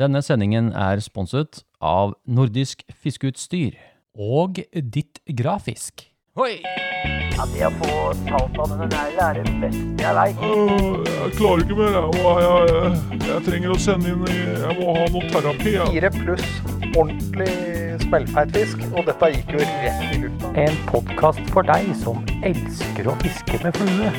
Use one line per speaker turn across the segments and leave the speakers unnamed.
Denne sendingen er sponset av Nordisk Fiskeutstyr.
Og ditt grafisk.
Hoi!
Det å få talt av denne neglen er det beste jeg veit.
Øh, Jeg klarer ikke mer. Jeg, må, jeg, jeg, jeg trenger å sende inn Jeg må ha noe terapi. Jeg.
Fire pluss ordentlig smellfeit fisk, og dette gikk jo rett i lufta.
En podkast for deg som elsker å fiske med flue.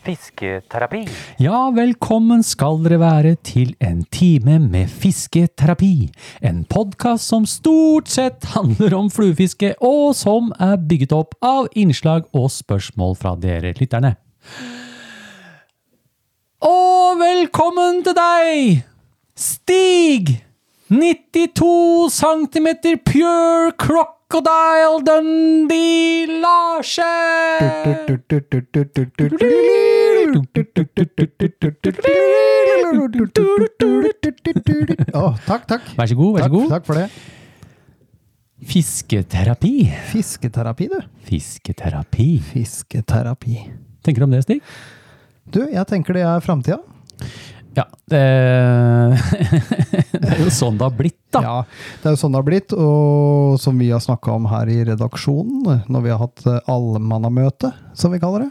Fisketerapi.
Ja, velkommen skal dere være til en time med fisketerapi. En podkast som stort sett handler om fluefiske, og som er bygget opp av innslag og spørsmål fra dere lytterne. Og velkommen til deg, Stig! 92 cm pure crocodile Dundee Larsen!
Å, takk, takk.
Vær så god, vær så
Takk,
god.
takk for det.
Fisketerapi.
Fisketerapi, du.
Fisketerapi.
Fisketerapi.
Tenker du om det, Stig?
Du, jeg tenker det er framtida.
Ja. Det, det er jo sånn det har blitt, da.
Ja, det er jo sånn det har blitt, og som vi har snakka om her i redaksjonen, når vi har hatt eh, allmannamøte, som vi kaller det,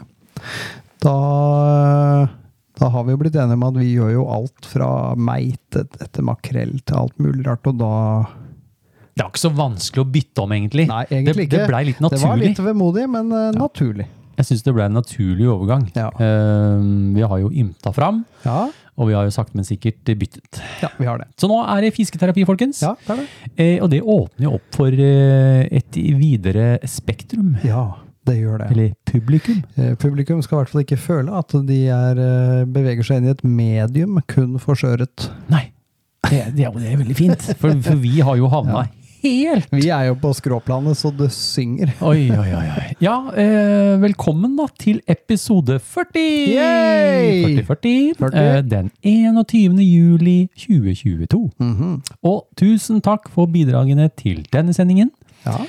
da, da har vi jo blitt enige om at vi gjør jo alt fra meite etter makrell til alt mulig rart, og da
Det var ikke så vanskelig å bytte om, egentlig.
Nei, egentlig
det,
ikke.
det blei litt
Det var
naturlig.
litt vemodig, men eh, naturlig.
Jeg syns det blei en naturlig overgang.
Ja.
Eh, vi har jo ymta fram,
Ja,
og vi har jo sakte, men sikkert byttet.
ja vi har det.
Så nå er det fisketerapi, folkens.
Ja, det er det.
Eh, og det åpner jo opp for eh, et videre spektrum.
Ja, det gjør det.
Eller publikum.
Eh, Publikum skal i hvert fall ikke føle at de er, eh, beveger seg inn i et medium kun forskjøret.
Nei. Det, det, er jo- det er veldig fint, for, for vi har jo havna helt
Vi er jo på skråplanet, så det synger.
Oi, oi, oi. oi. Ja, eh, velkommen da til episode 40!
Yay!
40, 40,
40.
Eh, den 21. juli 2022.
Mm.
Og tusen takk for bidragene til denne sendingen.
Ja.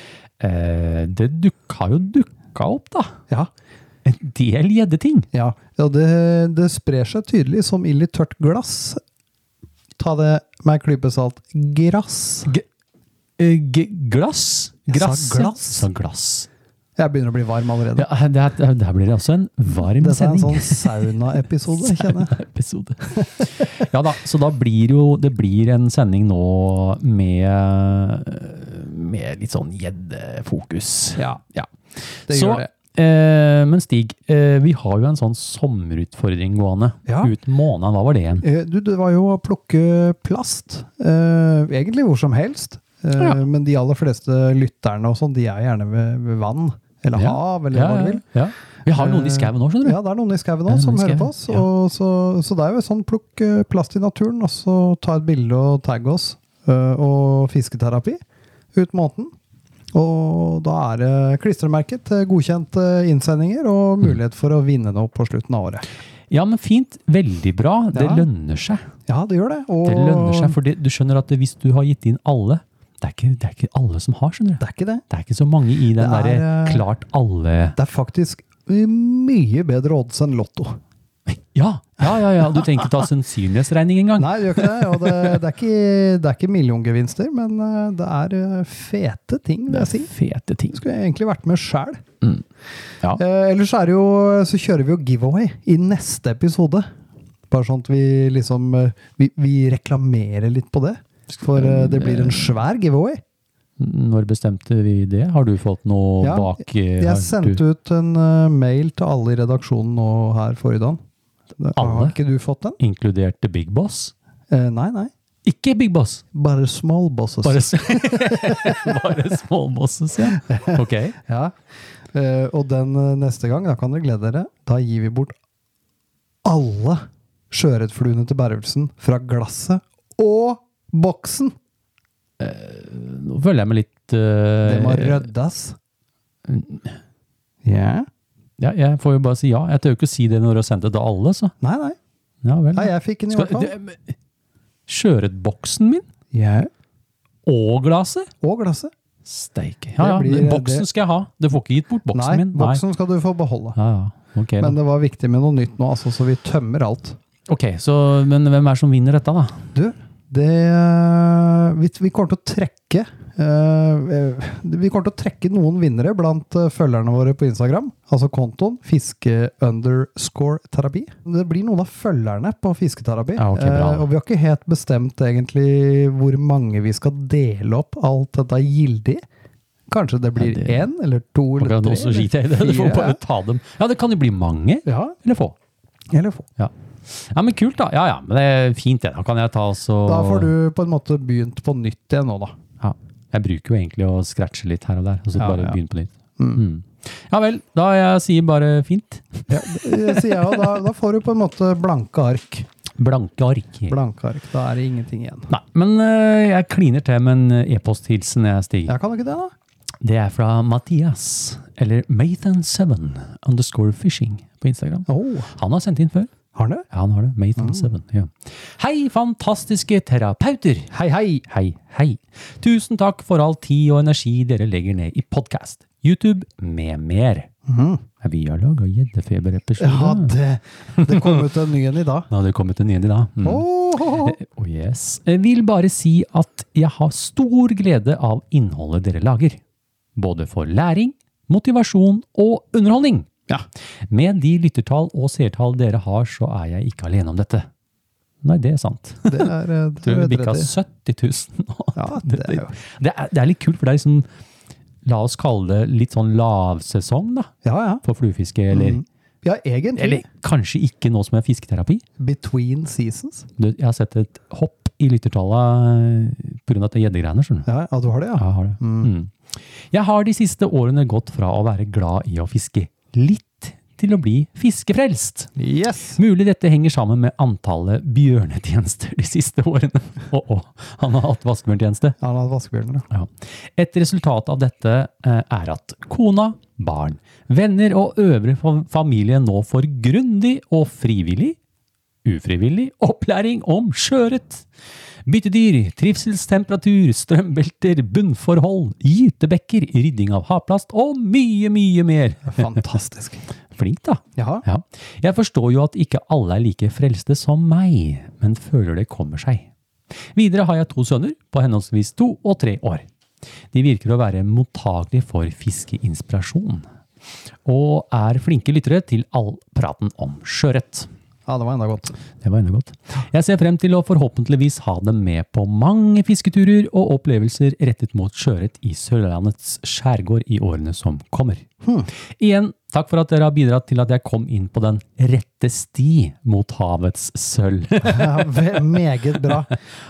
Eh, det dukk, har jo dukka opp, da.
Ja,
En del gjeddeting.
ja. ja det, det sprer seg tydelig som ild i tørt glass. Ta det med en klype salt. Grass.
G eh, g glass?
Jeg sa
Grass, ja.
glass.
Sa glass.
Jeg begynner å bli varm allerede.
Ja, det, her- der blir det også en varm
Dette er en
sending.
sånn sauna-episode, kjenner jeg.
episode. ja da, så da blir jo det blir en sending nå med, med litt sånn gjeddefokus.
Ja,
Ja.
det
så,
gjør det.
Eh, men Stig, eh, vi har jo en sånn sommerutfordring gående
Ja.
ut måneden. Hva var det igjen?
Eh, Du, det var jo å plukke plast. Eh, egentlig hvor som helst. Eh,
Ja.
Men de aller fleste lytterne og sånn, de er gjerne ved, ved vann. Eller
Ja.
hav, eller hva du vil.
ja. Vi har noen i skauen òg, skjønner du.
Eh, Ja, det er noen i skauen
Mm. Det er
nå som
noen i
hører på
skauen,
oss.
ja.
Og så, så det er jo sånn plukk eh, plast i naturen, og så ta et bilde og tagge oss. eh, Og fisketerapi ut måneden. Og da er det klistremerket til godkjente innsendinger
Mm.
og mulighet for å vinne noe på slutten av året.
Ja. men fint. Veldig bra. Det
Ja.
lønner seg.
Ja, det gjør det. Og
Det lønner seg, for du skjønner at hvis du har gitt inn alle Det er ikke, det er ikke alle som har, skjønner du.
Det er ikke det.
Det er ikke så mange i den
Det er,
derre
eh,
klart alle
Det er faktisk mye bedre odds enn Lotto.
Ja, ja, ja, ja. du trenger ikke ta sannsynlighetsregning engang.
Nei, det gjør ikke det. Og det, det, er ikke, det er ikke milliongevinster, men eh, det er eh, fete ting, vil jeg si.
Fete ting.
Skulle jeg egentlig vært med sjæl.
Mm. Ja.
Eh, ellers er det jo, så kjører vi jo giveaway i neste episode. Bare sånn at vi liksom eh, Vi, vi reklamerer litt på det. For eh, det blir en svær giveaway.
Når bestemte vi det? Har du fått noe
Ja,
bak? eh, har
Jeg sendte
du,
ut en eh, mail til alle i redaksjonen nå her forrige dagen.
Alle?
Har ikke du fått den?
Inkludert The Big Boss?
Eh, nei, nei.
Ikke Big Boss!
Bare small bosses.
Bare, s- bare small bosses, ja. Ok.
Ja. Eh, og den eh, neste gang, da kan dere glede dere, da gir vi bort alle sjøørretfluene til Bervelsen fra glasset og boksen!
Nå føler jeg meg litt eh,
Det må ryddes. Ja.
ja, Jeg får jo bare si ja. Jeg tør jo ikke si det når jeg har sendt det til alle, så.
Nei, nei.
Ja vel.
Nei, jeg fikk den i
Skal-
hvert fall.
det- men- Sjøørretboksen min?
Ja.
Og glasset?
Og glasset.
Steike. Ja, ja.
Det blir-
men Boksen
det-
skal jeg ha. Du får ikke gitt bort boksen
Nei,
min.
boksen skal du få beholde.
Ja, ja. Ok, da.
Men det var viktig med noe nytt nå, altså, så vi tømmer alt.
Ok, så, men hvem er det som vinner dette, da?
Du, Det Vi, vi kommer til å trekke eh, Vi kommer til å trekke noen vinnere blant eh, følgerne våre på Instagram. Altså kontoen fiske-underscore-terapi. Det blir noen av følgerne på fisketerapi.
Ja, ok, bra.
Eh, og vi har ikke helt bestemt egentlig hvor mange vi skal dele opp alt dette gildig. Kanskje det blir
Nei, det-
én eller to eller
Akkurat
tre.
nå så
eller
skiter jeg i det. Du får
fire.
bare ta dem. Ja, det kan jo bli mange,
Ja,
eller få.
eller få.
Ja. ja, men kult da. Ja, ja, men det er fint det. Da kan jeg ta så...
Da får du på en måte begynt på nytt igjen nå, da.
Ja. Jeg bruker jo egentlig å scratche litt her og der, og så
Ja,
bare
ja.
begynne på nytt. Mm. Ja vel, da jeg sier bare fint.
Ja, det sier jeg, og da, da får du på en måte blanke ark.
Blanke ark.
Blanke ark, Da er det ingenting igjen.
Nei, men eh, jeg kliner til med en e-posthilsen jeg stiger.
Jeg kan ikke det, da.
Det er fra Mathias, eller Mathan7 underscore fishing på Instagram.
Åh,
Han har sendt inn før.
har han det?
Ja, han har det. Mathan
Ah.
7. Ja. Hei, fantastiske terapeuter! Hei, hei! Hei, hei. Tusen takk for all tid og energi dere legger ned i podkast, YouTube med mer. Ja, Vi har laga gjeddefeberepisode.
Mm-hmm. Ja, det, det kom ut en ny en i dag.
Nå hadde det kommet en ny en i dag. Mm.
Åh,
Oh yes. Jeg vil bare si at jeg har stor glede av innholdet dere lager. Både for læring, motivasjon og underholdning. Med de lyttertall og seertall dere har, så er jeg ikke alene om dette. Nei, det er sant.
det er eh, det
Du
er
bikka
rett i.
70 000 nå.
Ja, det er jo
Det er, det er litt kult, for det er liksom La oss kalle det litt sånn lavsesong da,
Ja, ja.
for fluefiske. Eller,
Mm. Ja, egentlig.
eller kanskje ikke nå som er fisketerapi.
Between seasons.
Du, jeg har sett et hopp i eh, lyttertallet pga. gjeddegreiene. skjønner du.
Ja, ja, du har det,
Ja,
ja.
Jeg har det. Mm. Jeg har de siste årene gått fra å være glad i å fiske litt, til å bli fiskefrelst.
Yes!
Mulig dette henger sammen med antallet bjørnetjenester de siste årene. Å, å, han har hatt vaskebjørntjeneste.
Ja, han hadde vaskebjørner, ja.
Ja. Et resultat av dette eh, er at kona, barn, venner og øvrig fa- familie nå får grundig og frivillig, ufrivillig, opplæring om sjøørret. Byttedyr, trivselstemperatur, strømbelter, bunnforhold, gytebekker, rydding av havplast og mye, mye mer.
Fantastisk.
Flink, da.
Ja,
Ja. Jeg forstår jo at ikke alle er like frelste som meg, men føler det kommer seg. Videre har jeg to sønner på henholdsvis to og tre år. De virker å være mottagelige for fiskeinspirasjon, og er flinke lyttere til all praten om sjøørret.
ja det var enda godt.
Det var enda godt. Jeg ser frem til å forhåpentligvis ha dem med på mange fisketurer og opplevelser rettet mot sjøørret i Sørlandets skjærgård i årene som kommer. Igjen, takk for at dere har bidratt til at jeg kom inn på den rette sti mot havets sølv.
Ja, ve- meget bra.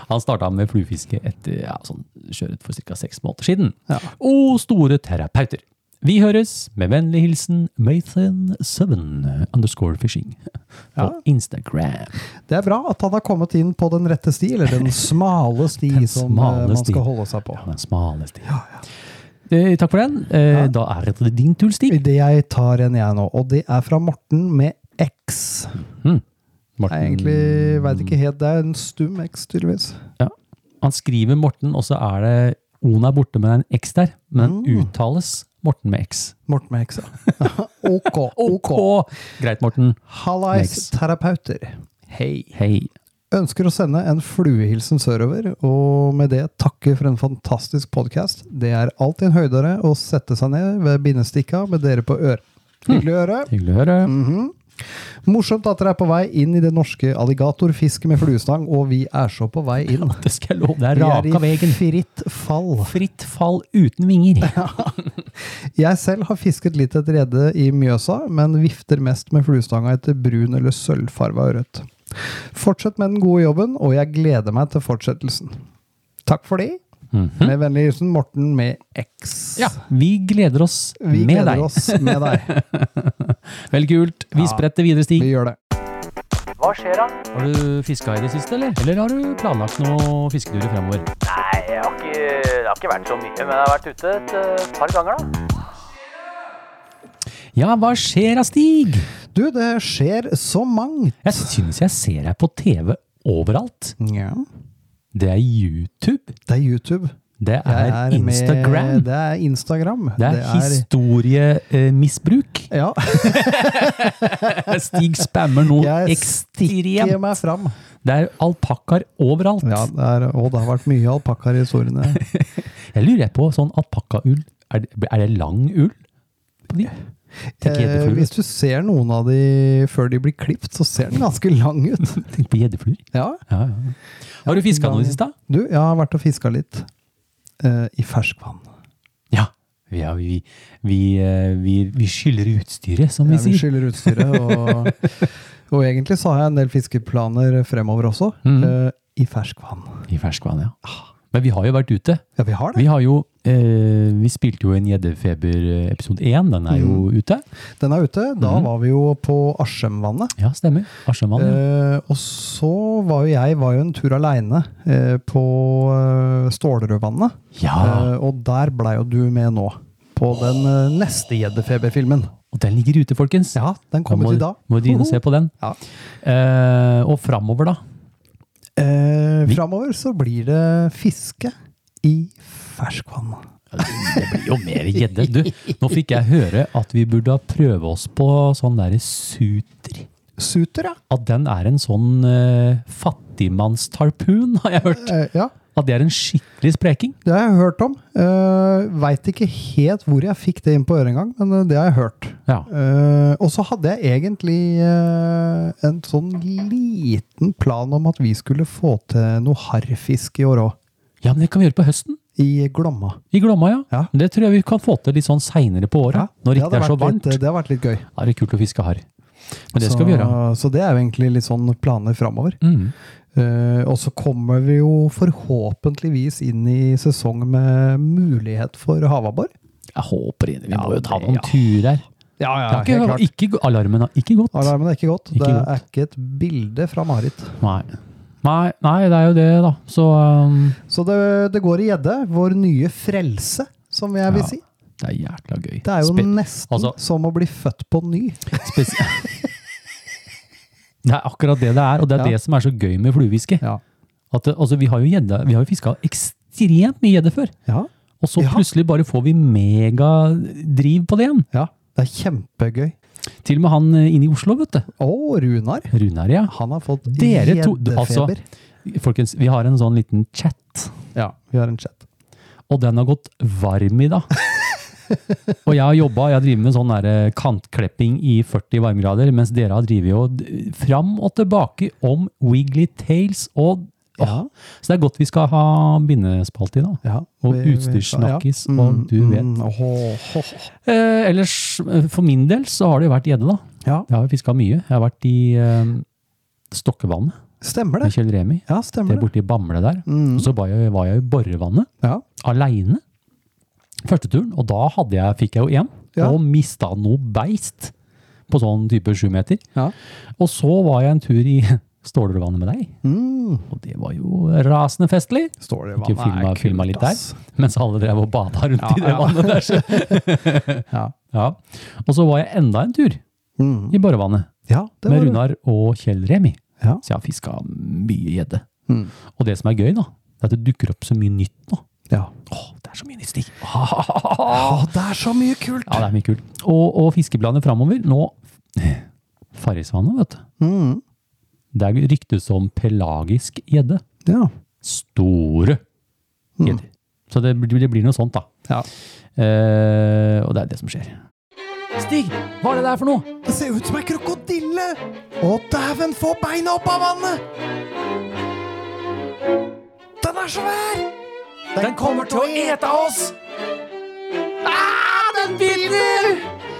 Han starta med fluefiske etter ja, sånn sjøørret for ca. seks måneder siden.
Ja.
Og store terapeuter. Vi høres med vennlig hilsen Mathan7 underscore fishing på Instagram.
Det er bra at han har kommet inn på den rette sti, eller den smale sti som eh,
smale
man
sti.
skal holde seg på.
Ja, den smale stien. Eh, takk for den. Eh, Da er det din tur, Stig.
Det jeg tar en jeg nå, og det er fra Morten med X.
Morten.
Jeg egentlig veit ikke helt. Det er en stum X, tydeligvis.
Ja. Han skriver Morten, og så er det O-en er borte, men det er en X der. Men
Mm.
den uttales Morten med X.
Morten med X, ja. ok, ok.
Å, Greit, Morten.
Hallais,
X.
terapeuter.
Hei. Hei.
Ønsker å sende en fluehilsen sørover, og med det takke for en fantastisk podkast. Det er alltid en høydere å sette seg ned ved bindestikka med dere på øret.
Hmm.
Hyggelig å høre.
Hyggelig å høre.
Mhm. Morsomt at dere er på vei inn i det norske alligatorfisket med fluestang, og vi er så på vei inn.
Det skal jeg love. Det er
Mm. Vi
raka
er i
veien.
fritt fall.
Fritt fall uten vinger.
Jeg selv har fisket litt etter gjedde i Mjøsa, men vifter mest med fluestanga etter brun eller sølvfarva ørret. Fortsett med den gode jobben, og jeg gleder meg til fortsettelsen. Takk for det. Med vennlig hilsen Morten med X.
Hm? Mhm. Ja, vi gleder oss
Vi
med
gleder
deg.
oss med deg.
Vel kult. Vi
Ja.
spretter videre, Stig.
Vi gjør det.
Hva skjer da?
Har du fiska i det siste, eller? Eller har du planlagt noe fisketurer fremover?
Nei, jeg har ikke, det har ikke vært så mye, men jeg har vært ute et eh, par ganger da.
Ja, hva skjer da, Stig?
Du, det skjer så mangt.
Jeg syns jeg ser deg på TV overalt.
Nja.
Det er YouTube,
Det er YouTube.
det
Jeg
er, Instagram,
Med,
det,
det er Instagram.
er historiemisbruk.
Ja,
Stig spammer noe
jeg stikker
ekstremt.
meg fram.
Det er alpakkaer overalt.
Ja, det er, og det har vært mye alpakkaer i sorene.
Jeg lurer på sånn alpakkaull. Er, det- er det lang ull på de? Tenk
Eh,
gjeddefluer.
hvis du ser noen av de før de blir klipt, så ser den ganske lang ut.
Tenk på gjeddefluer.
Ja,
Ja, ja. Har du fiska noe i det siste?
du, jeg har vært og fiska litt eh, i ferskvann.
Ja. ja vi, vi, eh, vi, vi skylder utstyret, som vi
Ja, vi
sier.
skylder utstyret, og, og egentlig så har jeg en del fiskeplaner fremover også,
Mhm.
eh, i ferskvann.
I ferskvann, ja. Men vi har jo vært ute.
Ja, vi har det.
Vi har jo eh, Vi spilte jo en Gjeddefeber eh, episode én. Den er jo
Mm.
ute.
Den er ute. Da
Mhm.
var vi jo på Askjemvannet.
Ja, stemmer. Asjemann. Sånn, Ja.
Eh, og så var jo jeg var jo en tur aleine eh, på eh, Stålerødvannet.
ja.
Eh, og der blei jo du med nå. På den eh, neste Gjeddefeber-filmen.
Og den ligger ute, folkens.
Ja, den
Da
kommer
må,
til da.
må du inn og se på den.
Ja.
Eh, og framover, da.
Eh, framover så blir det fiske i ferskvann.
Det blir jo mer gjedde. Du, nå fikk jeg høre at vi burde prøve oss på sånn derre suter.
Suter, ja.
At den er en sånn eh, fattigmannstarpun, har jeg hørt.
Eh, ja.
At det er en skikkelig spreking.
Det har jeg hørt om. Uh, Veit ikke helt hvor jeg fikk det inn på øret engang, men eh, det har jeg hørt.
Ja.
Eh, og så hadde jeg egentlig eh, en sånn liten plan om at vi skulle få til noe harrfisk i år òg.
ja, men det kan vi gjøre på høsten.
I Glomma.
I Glomma, ja.
Ja.
Det tror jeg vi kan få til litt sånn seinere på året. når det
hadde
ikke er så
vært
varmt.
Litt, eh, det har vært litt gøy.
Da er det kult å fiske harr. Men det
så,
skal vi gjøre.
Så det er jo egentlig litt sånn planer framover.
Mm.
Eh, og så kommer vi jo forhåpentligvis inn i sesong med mulighet for havabbor.
Jeg håper inn. Vi
Ja,
må jo ta
det-
noen
ja.
turer.
Ja,
Det har ikke, ikke, gå- alarmen har ikke gått.
Alarmen er ikke godt.
Ikke
det
godt.
er ikke et bilde fra Marit.
Nei. Nei, nei, det er jo det, da. Så um,
Så det, det går i gjedde. Vår nye frelse, som jeg vil
Ja.
si.
det er jækla gøy.
Det er jo
Spe-
nesten
altså-
som å bli født på ny.
spes- Det er akkurat det det er, og det er
Ja.
det som er så gøy med fluefiske.
Ja.
At, det- altså, vi har jo, gjedde- vi har jo fiska ekstremt mye gjedde før,
Ja.
og så
Ja.
plutselig bare får vi megadriv på det igjen.
ja. Det er kjempegøy.
Til og med han eh, inne i Oslo, vet du.
Og Runar.
Runar, ja.
Han har fått
Dere to- du,
gjeddefeber.
altså- Folkens, vi har en sånn liten chat,
Ja, vi har en chat.
og den har gått varm i dag. og jeg har jobba, jeg driver med sånn der eh, kantklepping i 40 varmegrader, mens dere har drevet jo d- fram og tilbake om Wiggly Tales og åh.
Ja.
Så det er godt vi skal ha bindespalte i dag.
Ja,
Og
vi- vi-
utstyrssnakkis,
ja. Mm,
og du vet.
åh, åh.
Eh, ellers, eh, for min del, så har det jo vært gjedde, da.
Ja,
Jeg har fiska mye. Jeg har vært i eh, Stokkevannet
stemmer
med
det.
Kjell Remi.
Ja,
Det
stemmer
er
det.
borte i Bamble der.
Mm.
Og så var jeg, var jeg i Borrevannet.
Ja.
aleine. Første turen, og da hadde jeg, fikk jeg jo én,
Ja.
og mista noe beist på sånn type sju meter.
Ja.
Og så var jeg en tur i Stålervannet med deg,
Mm.
og det var jo rasende festlig.
Står det
Ikke
vannet er
filma,
kult,
filma litt der,
ass.
mens alle drev og bada rundt
Ja,
i det
ja.
vannet der. Så.
Ja.
Ja. Og så var jeg enda en tur
Mm.
i Borrevannet
ja, det
med
var det.
Runar og Kjell Remi.
Ja.
Så jeg har fiska mye gjedde.
Mm.
Og det som er gøy, da, det er at det dukker opp så mye nytt nå.
Ja.
Åh, det er så mye nytt stikk.
Å, det er så mye kult!
Ah! Ja, det er mye kult. Og, og fiskebladene framover Nå Farrisvannet, vet du.
Mm.
Der ryktes det om pelagisk gjedde.
ja.
Store gjedder. Så det, blir- det blir noe sånt, da.
Ja.
Eh, og det er det som skjer. Stig, hva er det der for noe?
Det ser ut som ei krokodille! Å, dæven, få beina opp av vannet! Den er svær! Den, kommer til å ete oss! Ah, den vinner!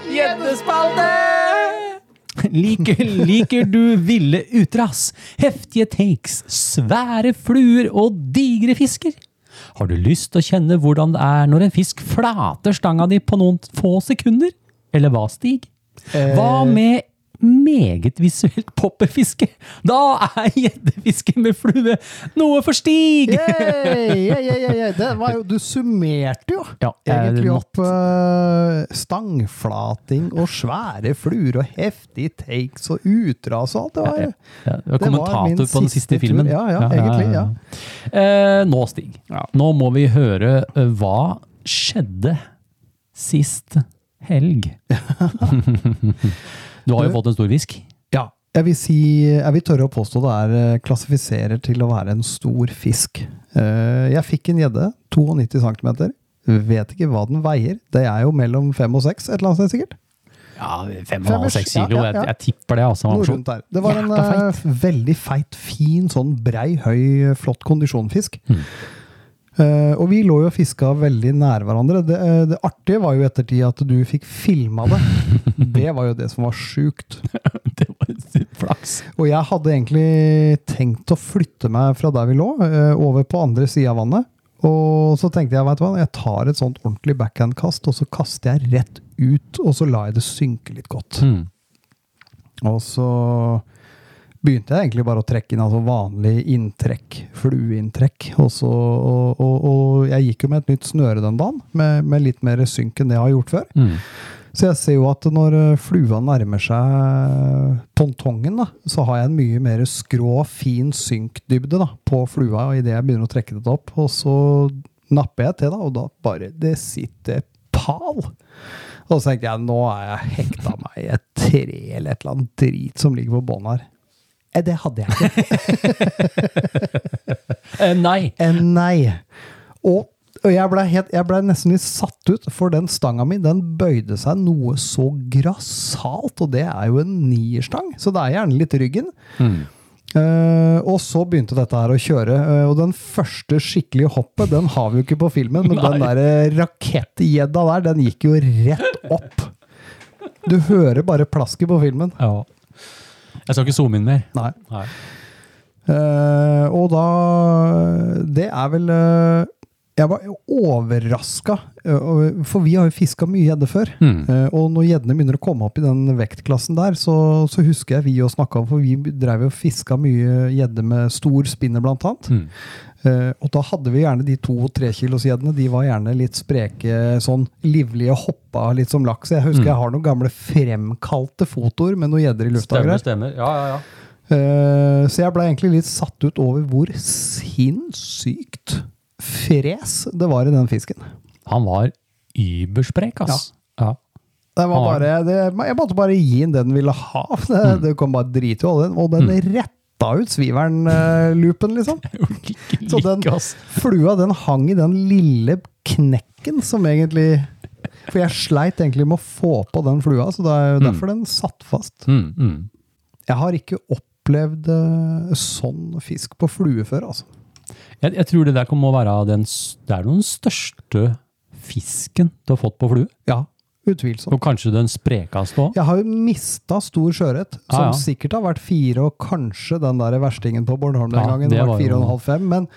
Gjeddespalte! Liker, liker du ville utrass, heftige takes, svære fluer og digre fisker? Har du lyst til å kjenne hvordan det er når en fisk flater stanga di på noen få sekunder? Eller hva, Stig?
Eh.
Hva med meget visuelt popperfiske? Da er gjeddefiske med flue noe for Stig!
Yay, yay, yay, yay, yay. Det var jo, du summerte jo
Ja, jeg
egentlig
måtte-
opp eh, stangflating og svære fluer og heftige takes og utras og alt. Det var
Ja,
jo
ja. Jeg var
Det var min
kommentator på den
siste
siste
tur.
filmen.
Ja, ja, egentlig, ja.
Eh, nå, Stig, nå må vi høre eh, hva skjedde sist helg. du har jo fått en stor fisk.
Ja, Jeg vil, si, jeg vil tørre å påstå det er eh, klassifiserer til å være en stor fisk. Eh, Jeg fikk en gjedde, 92 cm. Vet ikke hva den veier. Det er jo mellom fem og seks, et eller annet sted sikkert.
Ja, fem
Fem
og
og
seks
ja,
kilo.
ja, ja.
Jeg, jeg tipper det. altså.
Noe rundt der. Det var en
Jækla
eh, veldig feit, fin, sånn brei, høy, eh, flott kondisjonfisk. Eh, og vi lå jo og fiska veldig nær hverandre. Det, eh, det artige var jo i ettertid at du fikk filma det. Det var jo det som var sjukt.
Det var flaks.
Og jeg hadde egentlig tenkt å flytte meg fra der vi lå, eh, over på andre sida av vannet. Og så tenkte jeg vet du hva, jeg tar et sånt ordentlig backhand-kast, og så kaster jeg rett ut, og så lar jeg det synke litt godt.
Hmm.
Og så begynte jeg egentlig bare å trekke inn altså vanlig inntrekk, flueinntrekk. Og, så, og, og, og jeg gikk jo med et nytt snøre den dagen, med, med litt mer synk enn det jeg har gjort før.
Hmm.
Så jeg ser jo at når eh, flua nærmer seg tontongen, da, så har jeg en mye mer skrå, fin synkdybde da, på flua idet jeg begynner å trekke det opp. Og så napper jeg til, da, og da bare Det sitter pal! Og så tenkte jeg nå er jeg hekta meg i et tre eller et eller annet drit som ligger på bånn her. Eh, Det hadde jeg ikke.
Eh, nei.
Eh, Nei. Og, og jeg ble, helt, jeg ble nesten litt satt ut, for den stanga mi den bøyde seg noe så grassat, og det er jo en nierstang, så det er gjerne litt ryggen. Eh, og så begynte dette her å kjøre, eh, og den første skikkelige hoppet den har vi jo ikke på filmen, men den der eh, rakettgjedda der, den gikk jo rett opp. Du hører bare plasket på filmen.
Ja. Jeg skal ikke zoome inn mer.
Nei.
Nei.
Eh, og da Det er vel eh, Jeg var overraska, for vi har jo fiska mye gjedde før.
Hmm.
Eh, og når gjeddene begynner å komme opp i den vektklassen der, så, så husker jeg vi jo snakka om, for vi drev jo og fiska mye gjedde med stor spinner, blant annet.
Hmm.
Eh, og da hadde vi gjerne de to- og trekilosgjeddene. De var gjerne litt spreke, sånn livlige, hoppa litt som laks. Jeg husker jeg har noen gamle fremkalte fotoer med noen gjedder i lufta. og
Stemmer,
greier.
stemmer. Ja, ja, ja.
Eh, Så jeg ble egentlig litt satt ut over hvor sinnssykt fres det var i den fisken.
Han var übersprek, ass. Ja.
Det var
Har
bare, det, jeg måtte bare gi den det den ville ha. Det, det kom bare drit i all den, og den retta ut sviveren-loopen, liksom. Så den
Like, ass.
flua den hang i den lille knekken som egentlig For jeg sleit egentlig med å få på den flua, så det er jo derfor den satt fast.
Hmm. Hmm.
Jeg har ikke opplevd eh, sånn fisk på flue før, altså.
Jeg, jeg tror det der må være den, s- det er den største fisken du har fått på flue.
Ja, utvilsomt.
Og kanskje den sprekeste òg.
Jeg har jo mista stor sjøørret, som
Ja, ja.
sikkert har vært fire, og kanskje den der verstingen på Bornholm den
Ja,
gangen
det
var
var jo-
fire og en halv fem, men,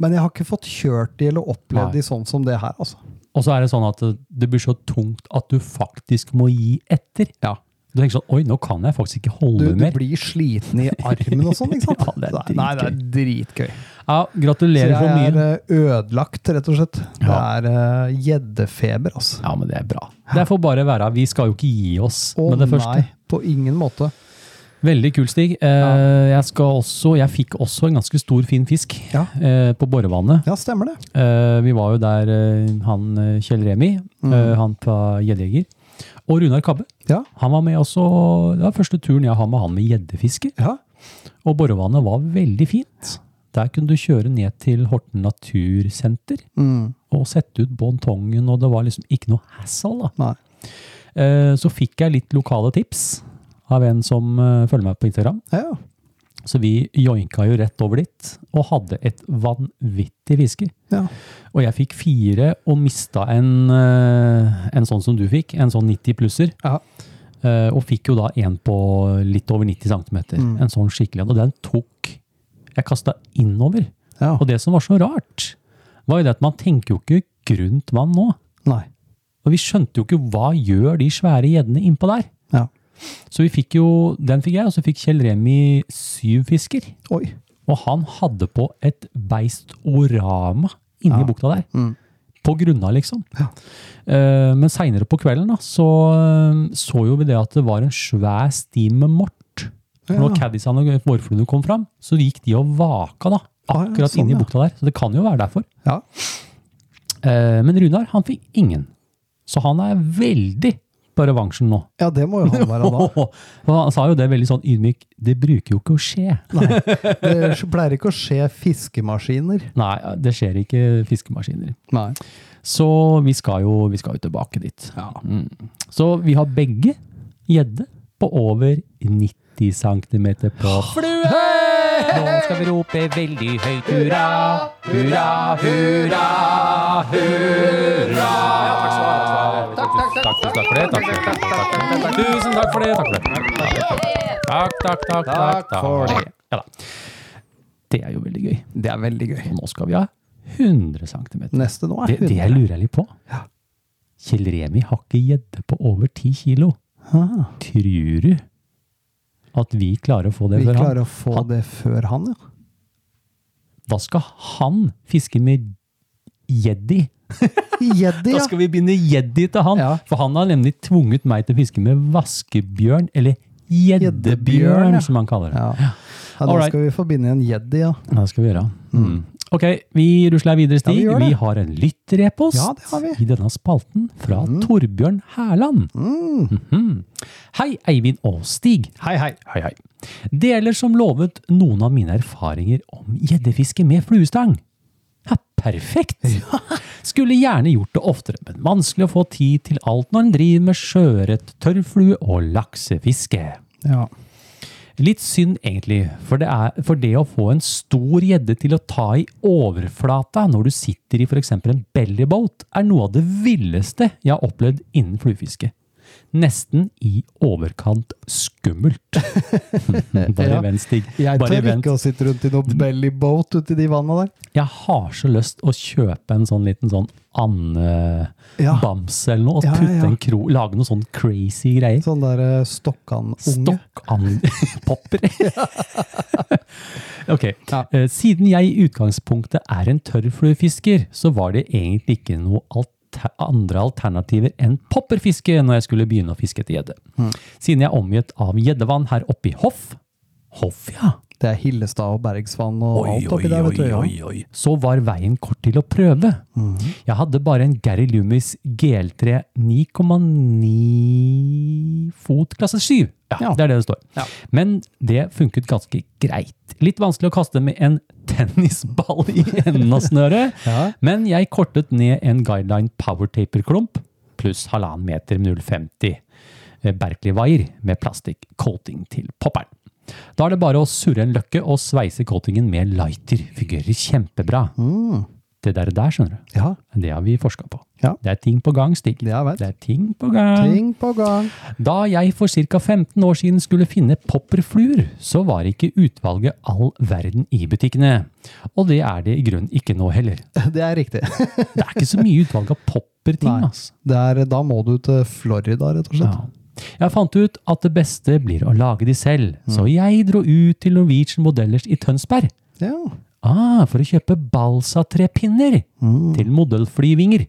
men jeg har ikke fått kjørt de eller opplevd
Nei.
de sånn som det her, altså.
Og så er det sånn at det, det blir så tungt at du faktisk må gi etter.
Ja.
Du tenker sånn Oi, nå kan jeg faktisk ikke
Du,
holde
du
mer.
blir sliten i armen og sånn, ikke sant?
Ja, det er
Nei, Nei, det er dritgøy.
Ja,
Så
gratulerer for
jeg er
mye.
eh, ødelagt, rett og slett.
Ja.
Det er eh, gjeddefeber, altså.
Ja, men det er bra. Det får bare være. Vi skal jo ikke gi oss
Å
med det første.
nei, på ingen måte.
Veldig kul, Stig. Eh, jeg, skal også, jeg fikk også en ganske stor, fin fisk
Ja.
eh, på Borrevannet.
Ja, stemmer det.
Eh, vi var jo der eh, han eh, Kjell Remi, eh, han fra Gjeddejeger, og Runar Kabbe.
Mm. Ja.
Han var med også, Det var første turen jeg har med han med gjeddefiske.
Ja.
Og Borrevannet var veldig fint. Der kunne du kjøre ned til Horten Natursenter
Mm.
og sette ut bontongen, og det var liksom ikke noe hassle. da.
Nei.
Eh, så fikk jeg litt lokale tips av en som eh, følger meg på Instagram.
Ja, ja.
Så vi joinka jo rett over dit, og hadde et vanvittig fiske.
ja.
Og jeg fikk fire, og mista en, eh, en sånn som du fikk, en sånn 90-plusser.
Ja.
Eh, Og fikk jo da en på litt over 90 cm. En sånn skikkelig en. Og den tok Jeg kasta innover.
ja.
Og det som var så rart, var jo det at man tenker jo ikke grunt vann nå.
Nei.
Og vi skjønte jo ikke hva gjør de svære gjeddene innpå der.
Ja.
Så vi fikk jo, den fikk jeg, og så fikk Kjell Remi syv fisker.
Oi.
Og han hadde på et beistorama inni bukta der. På grunna, liksom.
Mm. Ja.
Eh, men seinere på kvelden da, så eh, så jo vi det at det var en svær sti med mort. For Når caddisene og vårfluene kom fram, så gikk de og vaka da,
Ah, ja,
akkurat
sånn,
inni
ja.
bukta der. Så det kan jo være derfor.
Ja.
Eh, men Runar, han fikk ingen. Så han er veldig på revansjen nå.
Ja, det må jo han være da.
Og han sa jo det veldig sånn ydmyk. Det bruker jo ikke å skje.
Det pleier ikke å skje fiskemaskiner.
Nei, det skjer ikke fiskemaskiner.
Nei.
Så vi skal jo, vi skal jo tilbake dit. Mm. Så vi har begge gjedde på over 90 cm på flue! Nå skal vi rope veldig høyt hurra, hurra, hurra, hurra! Takk, takk, takk for det. Takk, for det, takk, for det, takk, for det. Tusen takk for det. Takk, for det. takk, takk, takk, takk, takk for det. Ja da. Det er jo veldig gøy.
Det er veldig gøy.
Og nå skal vi ha 100 cm.
Neste nå er
Det, det jeg lurer jeg litt på. Kjell Remi har ikke gjedde på over 10 kilo.
Ah,
Tror du at vi klarer å få det
vi
for
klarer
han?
å få det før han, ja.
Da skal han fiske med jedi.
Gjeddi,
Da
ja.
skal vi begynne jedi til han.
Ja.
For han har nemlig tvunget meg til å fiske med vaskebjørn, eller
Gjeddebjørn, ja.
gjeddebjørn, som han kaller det.
Ja, ja Da
Alright.
skal vi forbinde en gjeddi, ja.
Det skal vi gjøre. Mm. Ok, vi rusler videre, Stig.
vi gjør
vi,
det.
har en lytterepost
Ja, det har vi. Mm.
i denne spalten fra Torbjørn Herland. Mhm. Hei, Eivind og Stig. Hei, hei. Hei, hei. Deler som lovet noen av mine erfaringer om gjeddefiske med fluestang. Ja, perfekt! Skulle gjerne gjort det oftere, men vanskelig å få tid til alt når en driver med sjøørret, tørrflue og laksefiske.
ja.
Litt synd egentlig, for det, er, for det å få en stor gjedde til å ta i overflata når du sitter i f.eks. en bellyboat, er noe av det villeste jeg har opplevd innen fluefiske. Nesten i overkant skummelt. Bare
Ja.
vent, Stig.
Jeg
Bare
tør
vent.
ikke å sitte rundt i noe bellyboat uti de vanna der.
Jeg har så lyst å kjøpe en sånn liten sånn
Ja.
andebamse eller noe, og
Ja, ja,
putte
ja.
en kro, lage noen sånn crazy greier.
Sånn der eh, Stokkan-unge.
Stokkandpopper. ok. Eh, Siden jeg i utgangspunktet er en tørrfluefisker, så var det egentlig ikke noe alter andre alternativer enn popperfiske når jeg skulle begynne å fiske etter gjedde.
Hmm.
Siden jeg er omgitt av gjeddevann her oppe i Hoff Hoff, ja.
Det er Hillestad og Bergsvann og alt oppi der, vet du. ja. Hmm.
Så var veien kort til å prøve. Jeg hadde bare en Gary Loomis GL3 9,9 fot klasse 7. Ja,
Ja.
Det er det det står. Men det funket ganske greit. Litt vanskelig å kaste med en tennisball i enden av snøret,
Ja.
men jeg kortet ned en guideline powertaper-klump pluss halvannen meter med 0,50 eh, Berkeley-vaier med plastikk-coating til popperen. Da er det bare å surre en løkke og sveise coatingen med lighter. Fungerer kjempebra.
Mm.
Det der, der, skjønner du.
Ja,
Det har vi forska på.
Ja.
Det er ting på gang, Stig.
det er
Det
verdt.
er ting på gang.
Ting på gang.
Da jeg for ca. 15 år siden skulle finne popperfluer, så var ikke utvalget all verden i butikkene. Og det er det i grunnen ikke nå heller.
Det er riktig.
Det er ikke så mye utvalg av popperting,
Nei.
altså.
Det er, da må du til Florida, rett og slett.
Ja. Jeg fant ut at det beste blir å lage de selv,
Mm.
så jeg dro ut til Norwegian Modellers i Tønsberg.
Ja.
Ah, for å kjøpe balsatrepinner
Mm.
til modellflyvinger.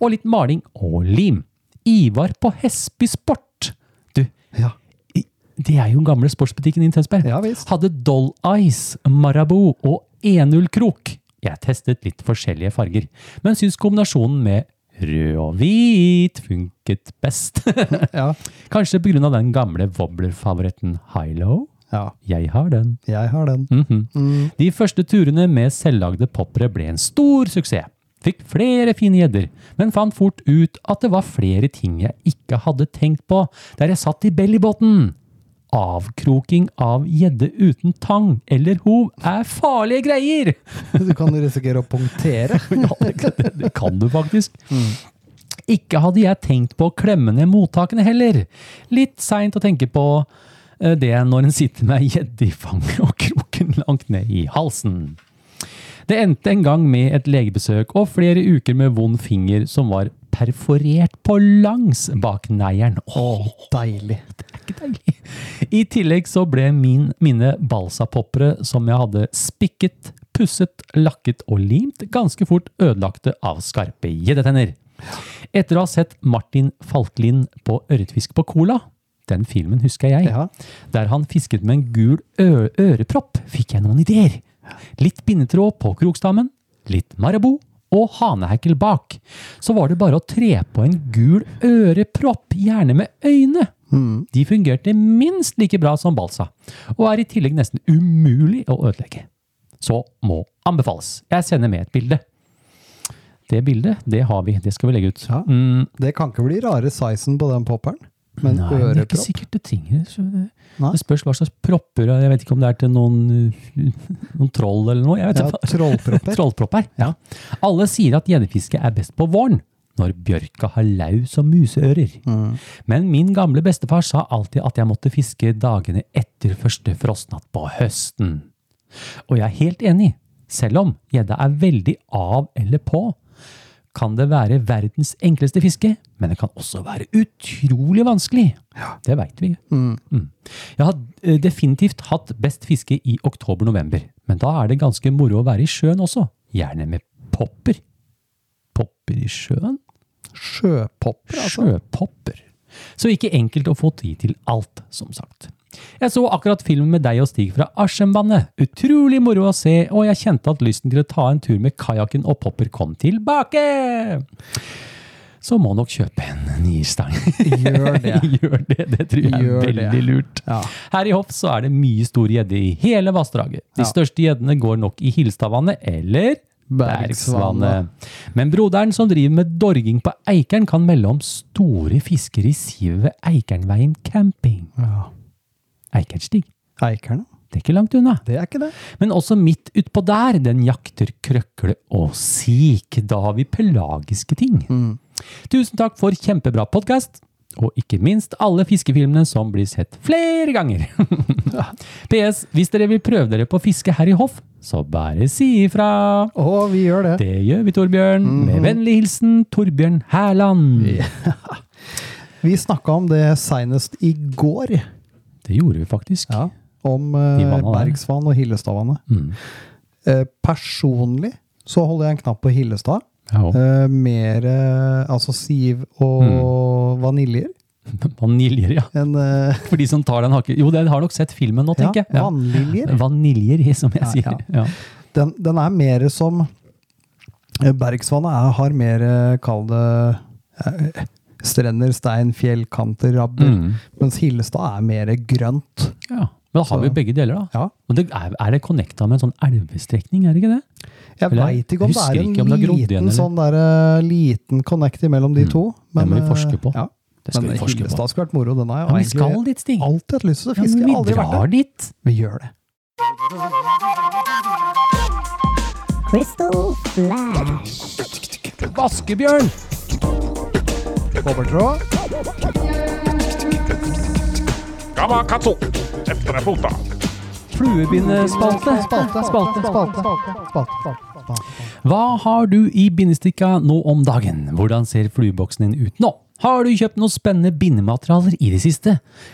Og litt maling og lim. Ivar på Hesby Sport. Du,
Ja.
i- det er jo den gamle sportsbutikken i Tønsberg.
Ja, visst.
Hadde Doll Eyes, Marabou og 1-0-krok. Jeg testet litt forskjellige farger, men syns kombinasjonen med rød og hvit funket best.
Ja.
Kanskje pga. den gamle wobbler-favoritten Hilo?
ja.
Jeg har den.
Jeg har den.
Mhm. De første turene med selvlagde poppere ble en stor suksess. Fikk flere fine gjedder, men fant fort ut at det var flere ting jeg ikke hadde tenkt på der jeg satt i bellybåten. Avkroking av gjedde uten tang eller hov er farlige greier!
Du kan risikere å punktere.
Ja, det, det, det kan du faktisk. Ikke hadde jeg tenkt på å klemme ned mottakene heller. Litt seint å tenke på eh, det når en sitter med ei gjedde i fanget og kroken langt ned i halsen. Det endte en gang med et legebesøk og flere uker med vond finger som var perforert på langs bak neieren. Åh,
Deilig.
ikke deilig. I tillegg så ble min, mine balsapoppere, som jeg hadde spikket, pusset, lakket og limt, ganske fort ødelagte av skarpe gjeddetenner. Etter å ha sett Martin Falklin på Ørretfisk på Cola, den filmen husker jeg,
Ja.
der han fisket med en gul ø ørepropp, fikk jeg noen ideer. Litt bindetråd på krokstammen, litt marabou og hanehekkel bak, så var det bare å tre på en gul ørepropp, gjerne med øyne.
Mm.
De fungerte minst like bra som balsa, og er i tillegg nesten umulig å ødelegge. Så må anbefales. Jeg sender med et bilde. Det bildet, det har vi. Det skal vi legge ut.
Ja.
Mm,
Det kan ikke bli rare sizen på den popperen. Men
Nei, men det er ikke
ørepropp
sikkert det trenger så det.
Nei.
Det spørs hva slags propper Jeg vet ikke om det er til noen, uh, noen troll eller noe. Jeg vet
ja,
ikke.
Trollpropper.
Trollpropper. Ja. Alle sier at gjeddefiske er best på våren, når bjørka har laus og museører.
Mm.
Men min gamle bestefar sa alltid at jeg måtte fiske dagene etter første frostnatt på høsten. Og jeg er helt enig. Selv om gjedda er veldig av eller på, kan det være verdens enkleste fiske, men det kan også være utrolig vanskelig. Det veit vi. Mm. Jeg har eh, definitivt hatt best fiske i oktober-november, men da er det ganske moro å være i sjøen også. Gjerne med popper. Popper i sjøen?
Sjøpopper, altså.
Sjøpopper. Så ikke enkelt å få tid til alt, som sagt. Jeg så akkurat filmen med deg og Stig fra Askjembandet. Utrolig moro å se, og jeg kjente at lysten til å ta en tur med kajakken og popper kom tilbake! Så må nok kjøpe en ny stang.
Gjør det.
Gjør det, det tror jeg
Gjør
er
det.
veldig lurt.
Ja.
Her i Hoff så er det mye stor gjedde i hele vassdraget. De
Ja.
største gjeddene går nok i Hilstadvannet eller
Bergsvannet.
Bergsvannet. Men broderen som driver med dorging på Eikeren, kan melde om store fisker i sivet ved Eikernveien camping.
Ja.
Eikerstig.
Eikerna?
Det er ikke langt unna.
Det er ikke det.
Men også midt utpå der, den jakter krøkle og sik. Da har vi pelagiske ting.
Mm.
Tusen takk for kjempebra podkast, og ikke minst alle fiskefilmene som blir sett flere ganger. PS. Hvis dere vil prøve dere på fiske her i hoff, så bare si ifra.
Å, vi gjør det.
Det gjør vi, Torbjørn.
Mhm.
Med vennlig hilsen Torbjørn Hærland.
Vi snakka om det seinest i går.
Det gjorde vi faktisk. Mm.
Ja. Om
I
eh,
vannet der.
Bergsvann og Hillestadvannet. Eh, personlig så holder jeg en knapp på Hillestad.
Ja, og
Eh, mer eh, altså siv og Mm. vaniljer
Vaniljer, ja.
enn eh,
For de som tar den hakke... Jo, den har nok sett filmen nå,
ja,
tenker jeg.
vannliljer.
Vaniljer, som jeg sier.
ja.
Ja.
Den, den er mer som eh, Bergsvannet er, har mer, eh, kall det eh, Strender, stein, fjell, kanter, rabber.
Mm.
Mens Hillestad er mer grønt.
Ja. Men da har vi jo
Så-
begge deler, da.
Ja.
Og det er, er det connecta med en sånn elvestrekning, er det ikke det?
Jeg
Eller jeg
veit ikke om det
husker
er en
ikke om det har grodd
liten,
igjen, eller?
sånn der, eh, liten connect mellom de to.
Det må vi
eh,
forske på.
Ja.
Det skal
men
vi forske på.
Hillestad skulle vært moro. Den har jeg
Ja, men vi
egentlig
skal dit, Stig.
alltid hatt lyst til å
Ja,
fiske.
men vi
aldri vært
drar
der.
dit.
Vi gjør det.
Crystal Flash.
Vaskebjørn!
Kobbertråd.
Gamakatsu! Etter deg fota.
Fluebindespalte.
Spalte, spalte, spalte. spalte, spalte, spalte.
Hva har du i bindestikka nå om dagen? Hvordan ser flueboksen din ut nå? Har du kjøpt noen spennende bindematerialer i det siste?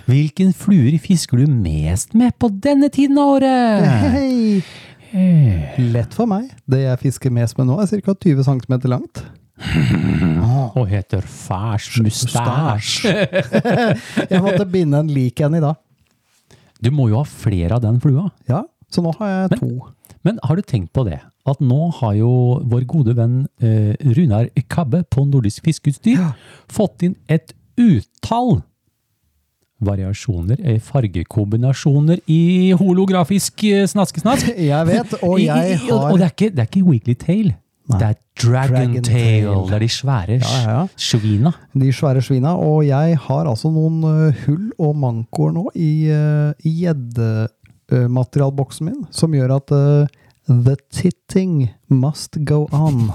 Hvilken fluer fisker du mest med på denne tiden av året? Eh,
Hei. Lett for meg. Det jeg fisker mest med nå, er ca. 20 cm langt. Ah,
Og heter fæsj mustasj.
Jeg måtte binde en lik en i dag.
Du må jo ha flere av den flua.
Ja, så nå har jeg to.
Men har du tenkt på det? At nå har jo vår gode venn eh, Runar Kabbe på Nordisk Fiskeutstyr fått inn et utall variasjoner, eh, fargekombinasjoner i holografisk eh, snaskesnask.
Jeg vet, og
I- i-
jeg
i- og-
har
Og det er ikke, det er ikke Weekly Tail. Det er Dragon,
Dragon
Tail.
Tail.
Det er de svære
Ja, ja, ja.
svina.
de svære svina, og jeg har altså noen eh, hull og mankoer nå i eh, i gjeddematerialboksen min, som gjør at eh, the titting must go on.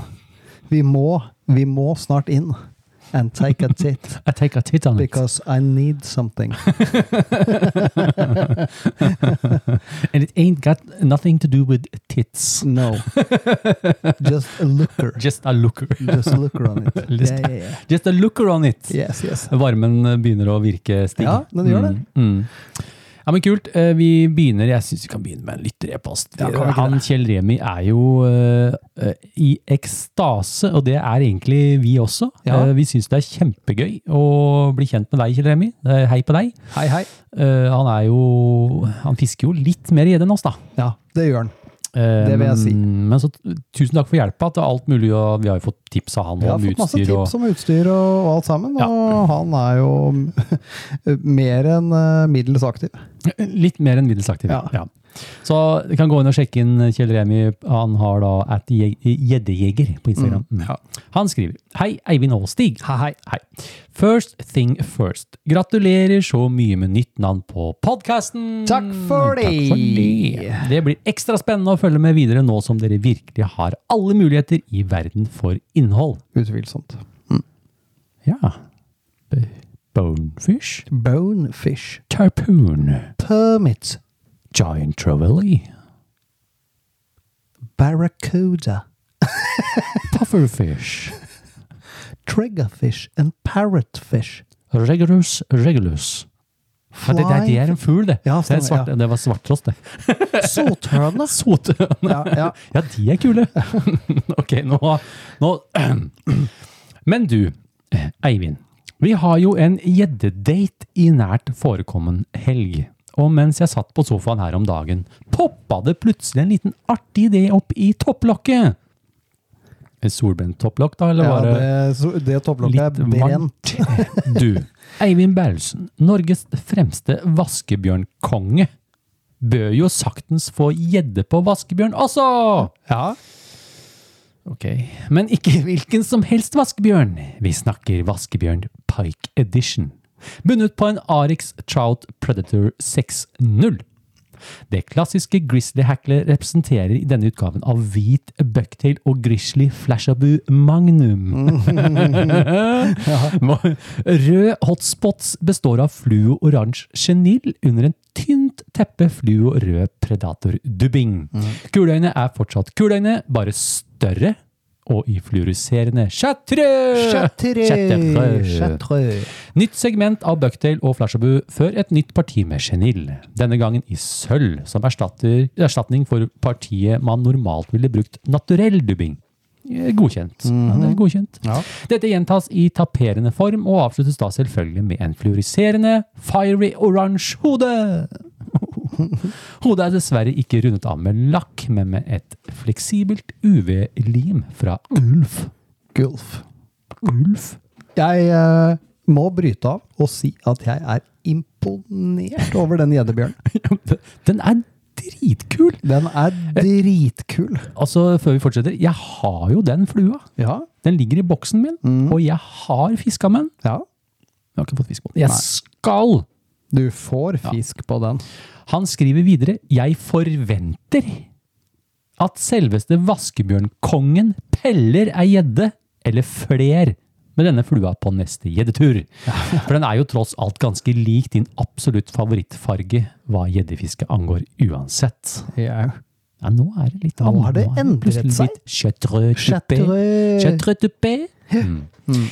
Vi må, vi må snart inn and take a tit,
I take a tit on it.
because I need something.
And it ain't got nothing to do with tits.
No. Just a looker.
Just a looker.
Just a looker on it.
Just-
Yeah, yeah, yeah.
Just a looker on it.
Yes, yes.
Varmen begynner å virke, Stig.
Ja, den gjør det.
Mm, mm. Ja, men kult. Eh, Vi begynner, jeg syns vi kan begynne med en lytterepost. Eh,
Ja, kan vi ikke
Han
det?
Kjell Remi er jo eh, eh, i ekstase, og det er egentlig vi også.
Ja.
Eh, Vi syns det er kjempegøy å bli kjent med deg, Kjell Remi. Eh, Hei på deg.
Hei, hei.
Eh, Han er jo Han fisker jo litt mer gjedde enn oss, da.
Ja, det gjør han.
Eh,
Det vil jeg si.
Men, men så tusen takk for hjelpa til alt mulig, og vi har jo fått tips av han
Jeg har
om
fått masse
utstyr. Og,
tips om utstyr og, og alt sammen,
Ja.
og han er jo mer enn eh, middels aktiv.
Litt mer enn middels aktiv. Ja.
Ja.
Så du kan gå inn og sjekke inn Kjell Remi. Han har da at jeg- gjeddejeger på Instagram.
Mm,
Han skriver Hei, Eivind og Stig. Hei, hei, hei. First thing first. Gratulerer så mye med nytt navn på podkasten.
Takk for det.
det. Det blir ekstra spennende å følge med videre nå som dere virkelig har alle muligheter i verden for innhold.
Utvilsomt.
Ja. B- Bonefish?
Bonefish.
Tarpoon.
Permit.
Giant Trevally.
Barracuda.
Pufferfish.
Triggerfish and parrotfish.
Regulus regulus. Ja, det, det, det er en fugl, det.
Ja,
det, er en
stemmer,
svart, det var svarttrost, det.
Sothørne.
Sånn. Sotøne.
Ja, ja.
Ja, de er kule. ok, nå, nå Men du, Eivind. Vi har jo en gjeddedate i nært forekommen helg. Og mens jeg satt på sofaen her om dagen, poppa det plutselig en liten artig idé opp i topplokket. Et solbrent topplokk, da? Eller
Ja,
var det
det, så- det topplokket er
Litt
brent.
varmt. Du, Eivind Berlsen, Norges fremste vaskebjørnkonge, bør jo saktens få gjedde på vaskebjørn også!
Ja.
Ok, men ikke hvilken som helst vaskebjørn. Vi snakker vaskebjørn Pike Edition. Bunnet på en Arix Trout Predator 6.0. Det klassiske grizzly-hacklet representerer i denne utgaven av hvit bucktail og grizzly flashabu magnum. Rød hotspots består av fluo-oransje genill under en tynt teppe fluo-rød predatordubbing. Kuleøyne er fortsatt kuleøyne, bare større og i fluoriserende chartreux! Chartreux. Nytt segment av Bucktail og Flashabu før et nytt parti med Genill. Denne gangen i sølv, som erstatter, erstatning for partiet man normalt ville brukt naturell dubbing. Eh, Godkjent. ja, det er godkjent. Dette gjentas i taperende form og avsluttes da selvfølgelig med en fluoriserende, fiery oransje hode. Hodet er dessverre ikke rundet av med lakk, men med et fleksibelt UV-lim fra Ulf.
Gulf.
Ulf?
Jeg eh, må bryte av og si at jeg er imponert over den gjeddebjørnen.
Den er dritkul!
Den er dritkul.
Altså, før vi fortsetter, jeg har jo den flua.
Ja.
Den ligger i boksen min,
Mm.
og jeg har fiska med den.
ja.
Jeg har ikke fått fisk på den. Jeg skal!
Du får fisk på den.
Han skriver videre, jeg forventer at selveste vaskebjørnkongen peller ei gjedde, eller fler, med denne flua på neste gjeddetur. For den er jo tross alt ganske lik din absolutt favorittfarge hva gjeddefiske angår uansett.
Ja.
Ja, nå er det litt
Nå har det
er
endret
plutselig
seg.
litt Chartreux coupé.
Chartreux.
Chartreux coupé.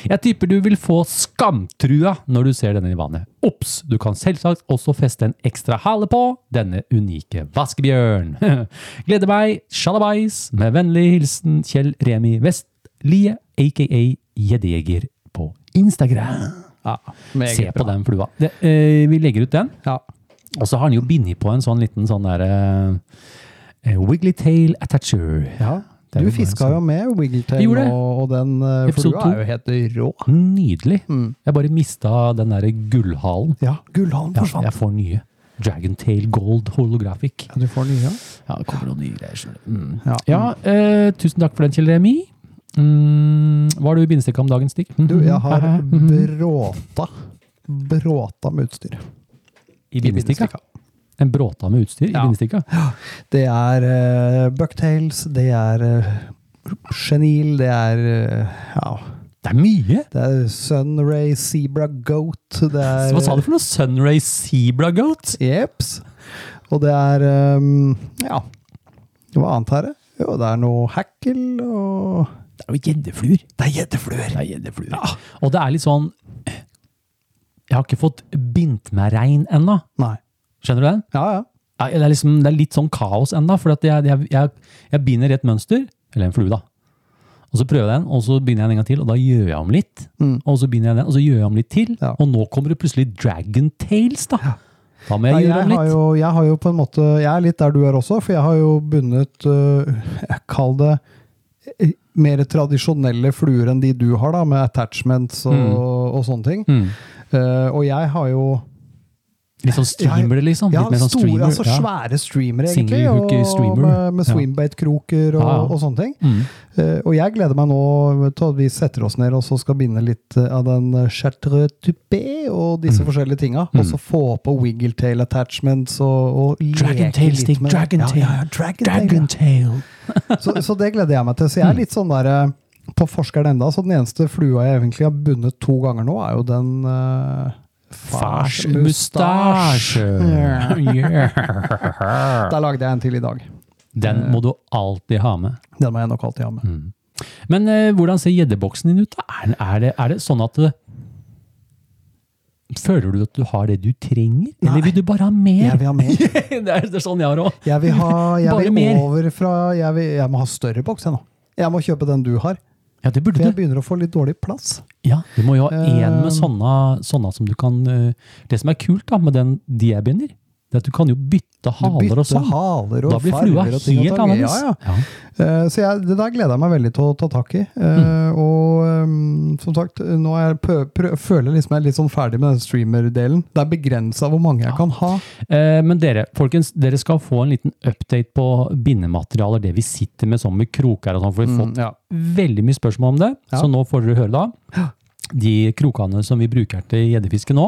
Jeg tipper du vil få skamtrua når du ser denne i vannet. Ops! Du kan selvsagt også feste en ekstra hale på denne unike vaskebjørn. Gleder meg. Sjalabais. Med vennlig hilsen Kjell Remi Vestlie, aka Gjeddejeger på Instagram. Se på den flua. Det, eh, vi legger ut den.
Ja.
Og så har han jo bindet på en sånn liten sånn der eh, Wiggly Tail Attacher.
ja.
Det er
Du
jo bare
fiska
sånn.
jo med Wiggletail,
Jeg gjorde det.
og, og den eh,
Episode
flua
to.
er jo helt rå.
Nydelig.
Mm.
Jeg bare mista den der gullhalen.
Ja, gullhalen
Ja,
forsvant.
jeg får nye. Dragontail Gold Holographic.
Ja, du får nye.
Ja, det kommer noen nye greier. skjønner du. Mm.
Ja.
Ja, eh, tusen takk for den, Kjell Remi. Mm, hva har du i bindestikk om Mhm, dagen, Stig?
Du, jeg har bråta. Bråta med utstyr.
I bindestikka?
bindestikka.
En bråta med utstyr i
Ja.
bindestikka?
Det er uh, bucktails, det er eh, chenil, det er eh, ja,
Det er mye!
det er sunray, zebra goat, det er
Hva sa du for noe? Sunray Zebra Goat?
Jeps. Og det er ehm, Ja, hva annet er det? Jo, det er noe hackle og
Det er jo gjeddefluer. Det er gjeddefluer. Ja. Og det er litt sånn Jeg har ikke fått bindt meg rein ennå.
Nei.
Skjønner du den?
Ja, ja.
Nei, Det er, liksom, det er litt sånn kaos ennå, for at jeg, jeg, jeg, jeg binder rett mønster, eller en flue, da. Og så prøver jeg den, og så binder jeg den en gang til, og da gjør jeg om litt. Og så binder jeg den, og så gjør jeg om litt til.
Mm. Ja.
Og nå kommer det plutselig Dragon Tales, da. Da må jeg
Nei,
gjøre
jeg,
om
har
litt.
jo, jeg har jo på en måte Jeg er litt der du er også, for jeg har jo bundet øh, Jeg Kall det eh, mer tradisjonelle fluer enn de du har, da, med attachments og,
Mm.
og sånne ting.
Mm.
Eh, og jeg har jo
Litt sånn streamer det, liksom.
jeg
Litt
har
mer sånn
store,
streamer.
altså
ja.
svære streamere, egentlig.
Single
Og,
hooker streamer.
med, med
Ja.
swimbait-kroker og,
Ja, ja.
og sånne ting.
Mm.
Eh, og jeg gleder meg nå til at vi setter oss ned og så skal binde litt eh, av den eh, chartre tupé og disse
Mm.
forskjellige tinga. Og så få på wiggletail attachments og, og leke
Dragontail
litt
stick,
med-
dragontail,
Ja, ja, ja, dragontail, ja.
Dragontail.
Så, så det gleder jeg meg til. Så
Mm.
jeg er litt sånn der eh, på forskeren enda, så den eneste flua jeg egentlig har bundet to ganger nå, er jo den eh,
Fars mustasje. Yeah.
Der lagde jeg en til i dag.
Den må du alltid ha med.
Den må jeg nok alltid ha med.
Men eh, hvordan ser gjeddeboksen din ut? da? Er, den- er, det, er det sånn at det, Føler du at du har det du trenger? Eller vil du bare ha mer?
Jeg vil ha mer.
det, er, det er sånn jeg har òg.
Jeg vil ha jeg
Bare
vil
mer.
over fra jeg, vil, jeg må ha større boks, jeg nå. Jeg må kjøpe den du har.
Ja, det
For
burde
jeg
du.
begynner å få litt dårlig plass.
Ja, du må jo ha én
Eh,
med sånne, sånne som du kan eh, Det som er kult da, med den de jeg binder, det er at du kan jo bytte
Du
haler
bytter
og sånn.
haler og
Da blir flua
farger og ting og
helt
tang.
annerledes.
Ja, ja.
Ja.
Eh, Så jeg, det der gleder jeg meg veldig til å ta tak i. Eh,
Mm.
Og ehm, som sagt, nå er jeg pø prø føler liksom jeg er litt sånn ferdig med den streamer-delen. Det er begrensa hvor mange jeg kan ha.
Eh, Men dere, folkens, dere skal få en liten update på bindematerialer, det vi sitter med sånn med kroker og sånn, for vi har fått
Mm, ja.
veldig mye spørsmål om det,
Ja.
så nå får dere høre da. De krokene som vi bruker til gjeddefiske nå,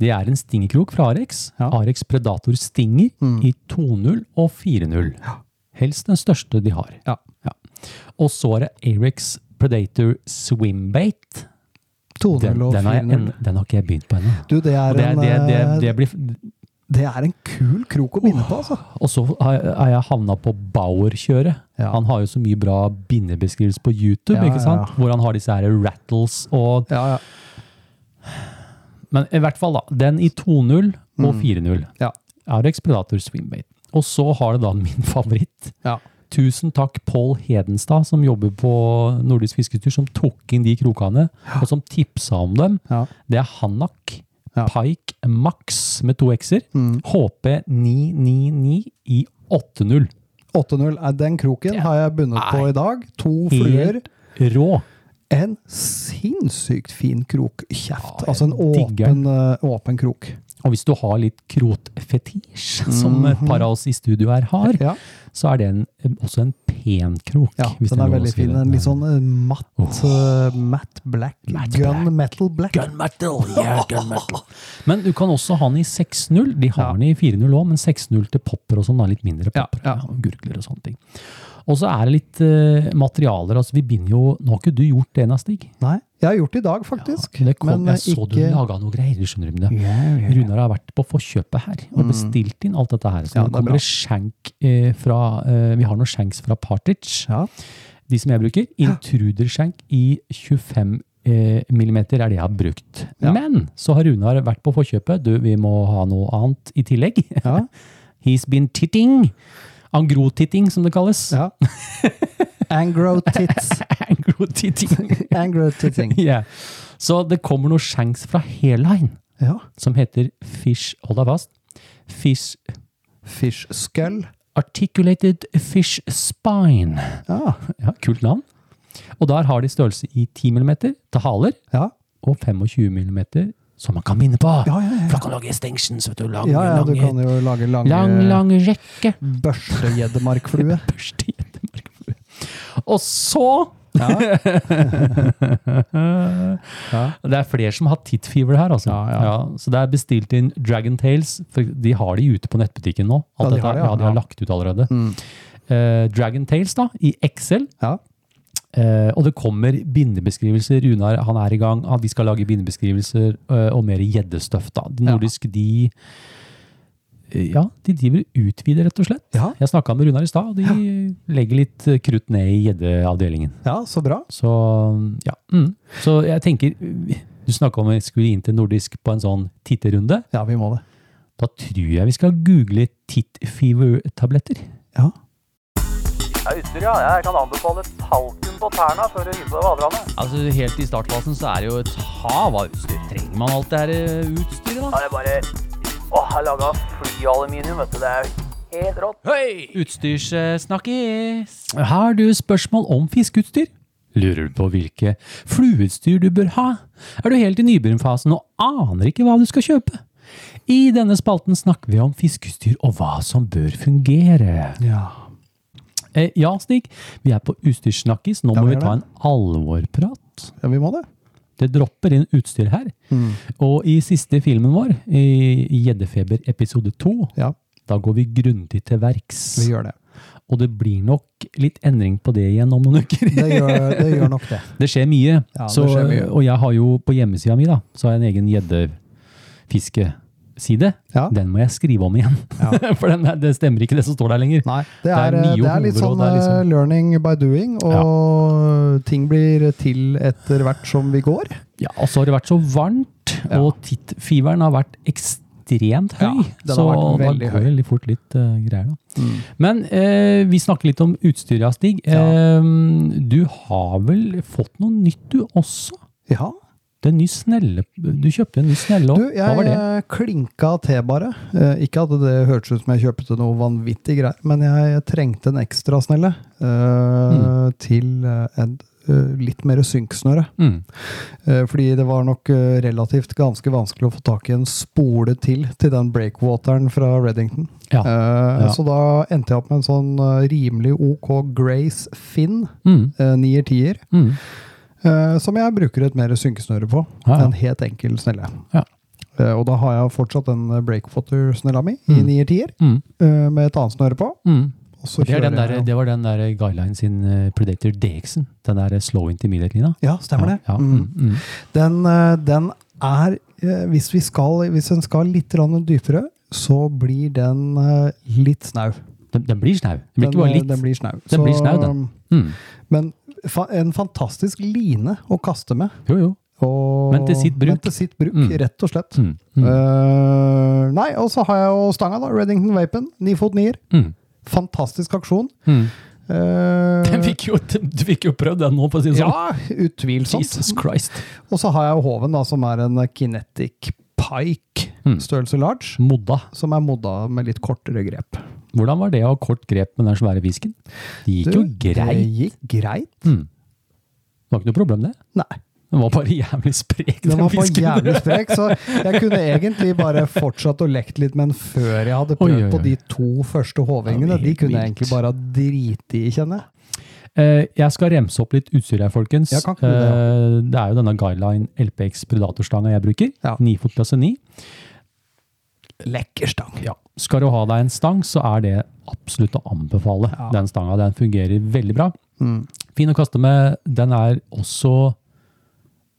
det er en stingekrok fra Arex.
Ja. Mm.
Arex Predator Stinger i 2.0 og 4.0. Helst den største de har.
Ja.
Og så er det Arex Predator Swimbait.
200
Den,
og
den, har jeg
400.
en, den har ikke jeg begynt på ennå.
Du, det
Og
er,
Det, er-
en,
det, det,
eh,
det blir,
det er en kul krok å binde på, altså.
og så har jeg- har jeg havna på Bauer-kjøret.
Ja.
Han har jo så mye bra bindebeskrivelser på YouTube,
Ja,
ikke sant?
ja.
hvor han har disse her rattles og
Ja, ja.
Men i hvert fall, da. Den i 2-0 og
Mm.
4-0.
Ja.
Arex Predator Swimbait. Og så har det da min favoritt.
Ja.
Tusen takk, Pål Hedenstad, som jobber på Nordisk Fisketur, som tok inn de krokene, og som tipsa om dem.
Ja.
Det er Hanak
Ja. Mm.
Pike Max med to x-er. HP 999 i 8-0.
8-0 er den kroken har jeg bundet på i dag. To fluer.
Helt rå.
En sinnssykt fin krokkjeft.
Ja,
altså en
Ah, jeg digger
åpen, eh, åpen krok.
Og hvis du har litt krotfetisj, som et par av oss i studio her har,
Mhm. Ja,
så er det en, også en pen krok.
ja
hvis
den
det lov
er
å
veldig
si
fin.
det.
En litt sånn eh, matt, eh, matt black.
Matt
gun metal black.
Gunmetal! Yeah, gunmetal. Men du kan også ha den i 6-0. De har
Ja.
den i 4-0 òg, men 6-0 til popper og sånn. da, Litt mindre
Ja,
popper.
ja.
Ja, gurgler og sånne ting. Og så er det litt eh, materialer. altså Vi binder jo Nå har ikke du gjort det, Ena Stig?
Nei, jeg har gjort det i dag, faktisk.
Det kom,
eh,
jeg så du laga noe greier. skjønner du med det. Runar har vært på forkjøpet her og bestilt inn alt dette her. Så
Mm. Ja,
nå
det er
kommer
bra.
det skjenk eh, fra eh, Vi har noen skjenks fra Partridge.
Ja.
De som jeg bruker. Intruderskjenk i 25 eh, millimeter er det jeg har brukt.
Ja.
Men så har Runar vært på forkjøpet. Du, vi må ha noe annet i tillegg.
Ja.
He's been titting. Angro-titting, som det kalles.
ja. Angro tits.
Angro-titting.
Angro titting.
yeah. Så det kommer noe skjenks fra Hairline
Ja.
som heter Fish Hold deg fast. Fish
Fish skull.
Articulated Fish Spine.
Ja.
Ja, Kult navn. Og der har de størrelse i 10 millimeter til haler.
Ja.
og 25 mm som man kan binde på.
Ja, ja, ja.
For da kan du lage extensions, vet du. Lang,
ja, ja, du
lange-
kan jo lage lange
lang, lang rekke.
børstegjeddemarkflue.
Børste i et markflue. Og så Det er flere som har tittfever her, altså.
Ja, ja.
så det er bestilt inn Dragon Tales. For de har de ute på nettbutikken nå.
Ja,
Alt
de
dette,
har det, ja.
ja, de har
Ja.
lagt ut allerede.
Mm.
Eh, Dragon Tales, da, i Excel.
Ja.
Eh, og det kommer bindebeskrivelser. Runar han er i gang. Han, de skal lage bindebeskrivelser eh, og mer gjeddestøff. da. De
Ja.
nordiske, de eh, Ja, de driver og utvider, rett og slett.
Ja.
Jeg snakka med Runar i stad, og de legger litt eh, krutt ned i gjeddeavdelingen.
ja, så bra.
Så ja. Mm. Så jeg tenker eh, Du snakka om vi skulle inn til nordisk på en sånn titterunde.
Ja, vi må det.
Da tror jeg vi skal google tittfever-tabletter.
Ja.
ja. Jeg kan anbefale talken på tærne før du hiver deg vaderne.
Altså, Helt i startfasen så er det jo et hav av utstyr. Trenger man alt det her eh, utstyret, da?
Da er det bare Og har laga flyaluminium, vet du. Det er helt rått.
Utstyrssnakkis.
Har du spørsmål om fiskeutstyr? Lurer du på hvilke flueutstyr du bør ha? Er du helt i nybegynnerfasen og aner ikke hva du skal kjøpe? I denne spalten snakker vi om fiskeutstyr og hva som bør fungere.
Ja.
Eh, ja, Stig, vi er på utstyrssnakkis. Nå
Ja,
må
vi
vi
er
ta en alvorprat.
ja, vi må det.
Det dropper inn utstyr her.
Mm.
Og i siste filmen vår, i Gjeddefeber episode 2,
Ja,
da går vi grundig til verks.
vi gjør det.
Og det blir nok litt endring på det igjen om noen uker.
Det gjør, det gjør nok det.
Det skjer mye.
Ja, det
så,
skjer mye.
Og jeg har jo på hjemmesida mi da, så har jeg en egen gjeddefiskeside.
Ja.
Den må jeg skrive om igjen. For den, det stemmer ikke det som står der lenger.
Nei, det
Det
er,
er
eh,
mye
det er litt
hovedråd,
sånn
det er liksom-
eh, learning by doing, og ting blir til etter hvert som vi går.
Ja, og så har det vært så varmt,
Ja.
og tittfiveren har vært ekstremt høy.
Ja, den har
så
vært
da
veldig
går det litt fort litt eh, greier, da.
Mm.
Men eh, vi snakker litt om utstyret, ja, Stig.
Ja.
Eh, du har vel fått noe nytt, du også?
Ja.
Det er en ny snelle. Du kjøpte en ny snelle
Du,
òg. Hva
jeg
var det?
eh, klinka til bare. Eh, Ikke at det hørtes ut som jeg kjøpte noe vanvittig greier, men jeg trengte en ekstra snelle eh, til eh, en eh, litt mer synksnøre.
Mm.
Eh, Fordi det var nok eh, relativt ganske vanskelig å få tak i en spole til til den breakwateren fra Reddington.
Ja.
Eh,
Ja.
Så da endte jeg opp med en sånn eh, rimelig OK Grace Finn,
Mm.
eh, nier-tier,
Mm.
eh, som jeg bruker et mer synkesnøre på.
Ja, ja.
En helt enkel snelle.
Ja.
Eh, Og da har jeg fortsatt den eh, breakwater-snella mi i
Mm.
nier-tier,
Mm.
eh, med et annet snøre på.
Mm.
Og så
Det, er den
kjører
der,
jeg-
det var den der Guideline sin eh, Predator DX-en. Den der eh, slow intermediate-lina.
Ja, stemmer det.
Ja, ja,
Mm.
mm, mm.
Den, eh, den er eh, Hvis vi skal Hvis en skal litt grann dypere, så blir den eh, litt snau.
Den, den blir snau. Den blir
Den,
ikke bare
eh,
litt.
Den blir snau.
Den blir snau, den. Mm.
Men fa en fantastisk line å kaste med.
Jo, jo.
Og,
Men til sitt bruk.
Men til sitt bruk,
Mm.
rett og slett.
Mm. Mm.
Eh, nei, og så har jeg jo stanga, da. Reddington Vapen. Ni fot nier.
Mm.
Fantastisk aksjon.
Mm.
Eh,
Den fikk jo, du fikk jo prøvd den nå, for å si det sånn.
ja, utvilsomt.
Jesus Christ.
Og så har jeg jo Hoven, da, som er en eh, Kinetic Pike,
Mm.
størrelse large.
Modda.
som er modda med litt kortere grep.
Hvordan var det å ha kort grep med den svære fisken? Det gikk jo
Det
greit.
gikk greit.
Mm. Det var ikke noe problem, det.
Nei.
Den var bare jævlig sprek,
Den
den,
var bare
fisken.
jævlig sprek, så jeg kunne egentlig bare fortsatt å lekt litt, men før jeg
Oi,
hadde prøvd
oi,
på
oi.
de to første
Ja,
hovingene,
det er
de
helt
kunne jeg
vilt.
egentlig bare ha driti i, kjenner jeg.
Eh, jeg skal remse opp litt utstyr her, folkens.
Ja, kan ikke du det,
Eh, det er jo denne Guideline LPX Predator-stanga jeg bruker.
Ja.
9-fot klasse 9.
Lekker stang.
Ja. Skal du ha deg en stang, så er det absolutt å anbefale.
Ja.
Den stanga den fungerer veldig bra.
Mm.
Fin å kaste med. Den er også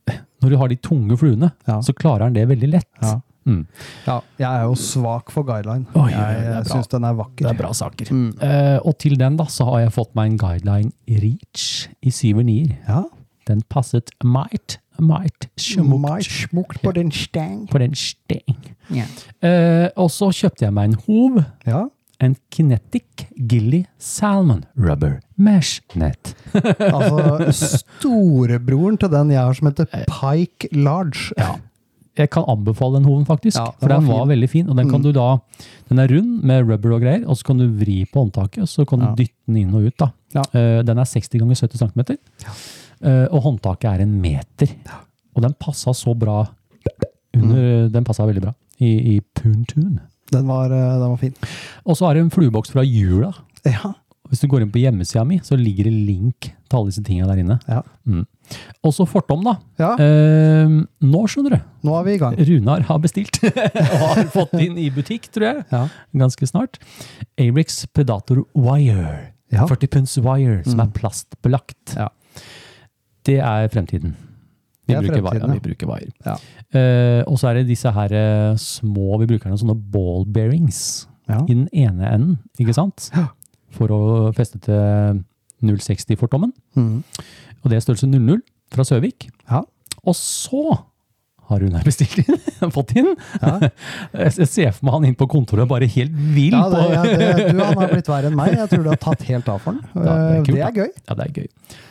eh, Når du har de tunge fluene,
Ja.
så klarer den det veldig lett.
Ja.
Mm.
ja. Jeg er jo svak for guideline.
Oi, oi,
jeg
det er
jeg
bra.
syns den er vakker.
Det er bra saker.
Mm.
Eh, og til den da, så har jeg fått meg en Guideline Reach i 7-9-er.
Ja.
Den passet might, might,
Mai
smukt
smukt på den stang.
på den steng.
Ja.
Eh, og så kjøpte jeg meg en hov,
ja.
en Kinetic Gilly Salmon Rubber Mesh Net.
Altså, storebroren til den jeg har som heter Pike Large. Ja.
Jeg kan anbefale den hoven, faktisk.
Ja, den
for den
var
var
fin. Mm.
veldig fin. og Den kan du da, den er rund med rubber og greier, og så kan du vri på håndtaket, og så kan du
Ja.
dytte den inn og ut. da.
Ja.
Eh, den er 60 ganger 70 cm, og håndtaket er en meter. Og den passa så bra under
Mm.
Den passa veldig bra i, i Puntun.
Den, var, eh, den var fin.
Og så er det en flueboks fra jula.
Ja.
Hvis du går inn på hjemmesida mi, så ligger det link til alle disse tinga der inne.
ja.
Mm. Og så fortom, da.
Ja.
Eh, nå skjønner du.
Nå er vi i gang.
Runar har bestilt og har fått inn i butikk, tror jeg.
Ja.
Ganske snart. Abrix Predator Wire.
Ja. Mm.
40 punds wire, som er plastbelagt.
Ja.
Det er fremtiden. Vi
Det
bruker
er fremtiden,
wire.
ja.
Vi bruker wire.
Ja.
Eh, og så er det disse her eh, små Vi bruker noen sånne ball bearings
Ja.
i den ene enden, ikke sant?
Ja.
For å feste til 060-fortommen.
Mm.
Og det er størrelse 00 fra Søvik.
Ja.
Og så har hun her bestilt inn, fått inn. Jeg jeg ser for meg han inn på kontoret og bare helt vill.
Ja, det,
på-
ja, det, du, han har blitt verre enn meg. Jeg tror du har tatt helt av for den.
Ja, det er
Eh,
kult,
det er gøy.
Ja, det er gøy.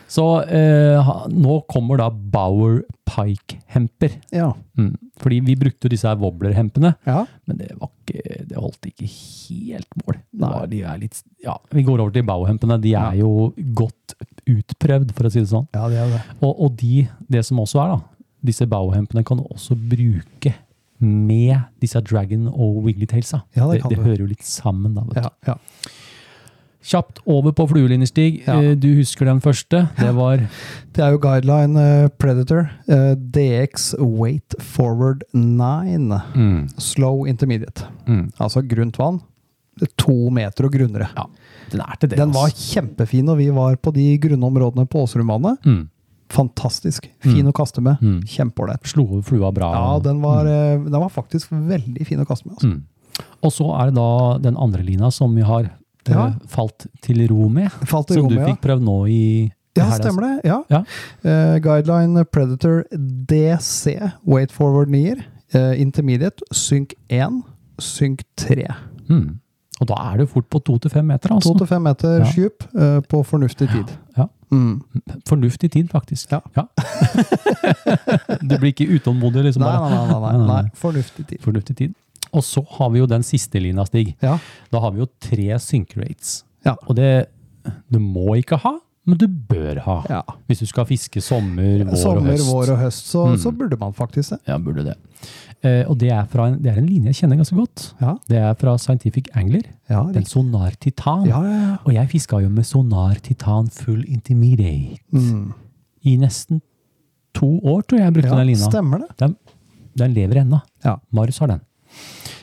Så eh, ha- nå kommer da Bauer Pike-hemper.
Ja.
Mm. Fordi vi brukte jo disse her wobbler-hempene,
ja.
men det, var ikke, det holdt ikke helt mål. Det
Nei.
var, de er litt, ja, vi går over til Bauer-hempene. De er jo godt utprøvd, for å si det sånn.
Ja, det er det.
Og, og de, det som også er, da, disse Bauer-hempene kan du også bruke med disse Dragon og Wigglytailsa.
Ja, det kan
det,
du.
hører jo litt sammen, da. vet du.
Ja, ja.
Kjapt over på fluelinjestig.
Ja.
Eh, Du husker den første. Det var
Det er jo guideline eh, Predator. eh, DX Weight Forward 9. Slow Intermediate.
Mm.
Altså grunt vann. To meter og grunnere.
Ja, den er til det.
Den var
altså.
kjempefin når vi var på de grunne områdene på Åsrudvannet.
mm.
Fantastisk. Fin å kaste med.
Mm.
Kjempeålreit.
Slo over flua bra.
Ja, den var, eh, den var faktisk veldig fin å kaste med. Altså.
Mm. Og så er det da den andre lina som vi har eh,
Ja.
falt til ro med.
Falt i
Som
ro
du
med, ja.
fikk prøvd nå i
Ja, stemmer det. Ja.
Ja.
Eh, guideline Predator DC, Weight Forward 9. eh, intermediate, synk 1, synk 3.
Mm. Og da er det fort på to til fem meter, altså.
2-5 meter
Ja.
skyp eh, på fornuftig tid.
Ja.
Mm.
Fornuftig tid, faktisk.
Ja.
du blir ikke utålmodig, liksom.
Nei,
bare.
nei, nei, nei, nei, nei. Fornuftig tid.
Fornuftig tid. Og så har vi jo den siste lina, Stig.
Ja.
Da har vi jo tre sync rates.
Ja.
Og det du må ikke ha, men du bør ha.
Ja.
Hvis du skal fiske sommer, vår og
Sommer,
høst.
vår og høst, Mm. så, så burde man faktisk det.
Ja, burde det. Eh, og det er, fra en, det er en linje jeg kjenner ganske godt.
Ja.
Det er fra Scientific Angler.
Ja,
Den
riktig.
Sonar Titan.
ja, ja, ja.
Og jeg fiska jo med Sonar Titan full intimidate
Mm.
i nesten to år, tror jeg jeg brukte
ja.
den lina.
Stemmer det.
Den, den lever ennå.
Ja.
Marius har den.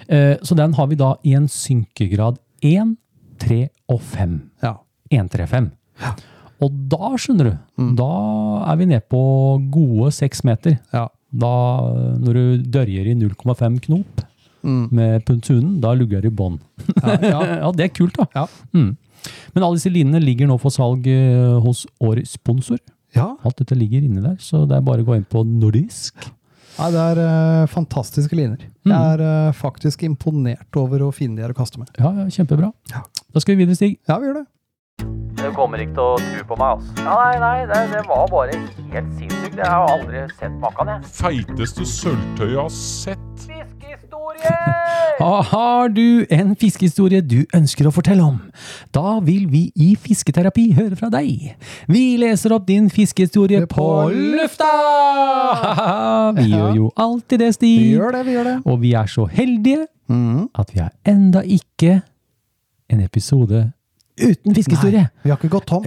Eh, så den har vi da i en synkegrad 1, 3 og 5.
Ja.
1, 3, 5. Og da, skjønner du,
Mm.
da er vi nede på gode seks meter.
Ja.
Da, når du dørjer i 0,5 knop
Mm.
med puntunen, da lugger du i bånn. Eh, Ja, det er kult, da.
Ja.
Mm. Men alle disse linene ligger nå for salg eh, hos årets sponsor.
ja.
Alt dette ligger inni der, så det er bare å gå inn på nordisk.
Nei, det er eh, fantastiske liner. Jeg er eh, faktisk imponert over å finne de her å kaste med.
Ja, ja, kjempebra.
Ja.
Da skal vi videre, Stig.
Ja, vi gjør det.
Du kommer ikke til å tro på meg, altså. Nei, nei, det, det var bare helt sinnssykt. Jeg har aldri sett maken, jeg.
Feiteste sølvtøyet jeg har sett.
Fiskehistorie!
Ha- Har du en fiskehistorie du ønsker å fortelle om? Da vil vi i Fisketerapi høre fra deg. Vi leser opp din fiskehistorie
Det er
på
på
lufta! Vi
Ja.
gjør jo alltid det,
Vi
Stig.
gjør det, vi gjør det.
Og vi er så heldige
Mhm.
at vi har enda ikke en episode uten fiskehistorie.
Vi har ikke gått tom.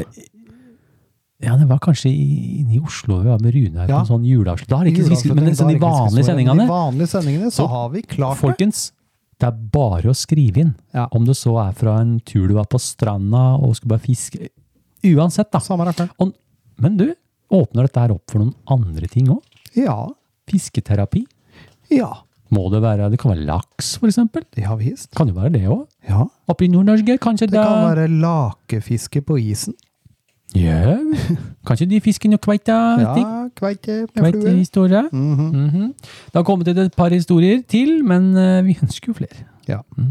Ja, det var kanskje i- inne i Oslo vi var med Rune her på
Ja.
en sånn juleavslut. Da har det ikke fiskehistorie, men
Juleavslutning,
sånn de
da er det ikke
vanlige
fiskehistorie, men
sendingene.
De vanlige sendingene, så har vi klart det.
Folkens, det er bare å skrive inn.
Ja.
Om det så er fra en tur du var på stranda og skulle bare fiske. Uansett, da.
Samme rakkeren.
Og, men du, åpner dette her opp for noen andre ting òg?
Ja.
Fisketerapi?
Ja.
Må det være Det kan være laks, for eksempel?
Det har vi visst.
Kan jo være det òg.
Ja.
Oppe i Nord-Norge, kanskje det,
Det kan være lakefiske på isen.
Ja. Kanskje de fisker noe kveite?
Ja,
ting?
kveite med flue.
Kveitehistorie? Mhm. Det har kommet et par historier til, men eh, vi ønsker jo flere.
Ja.
Ja,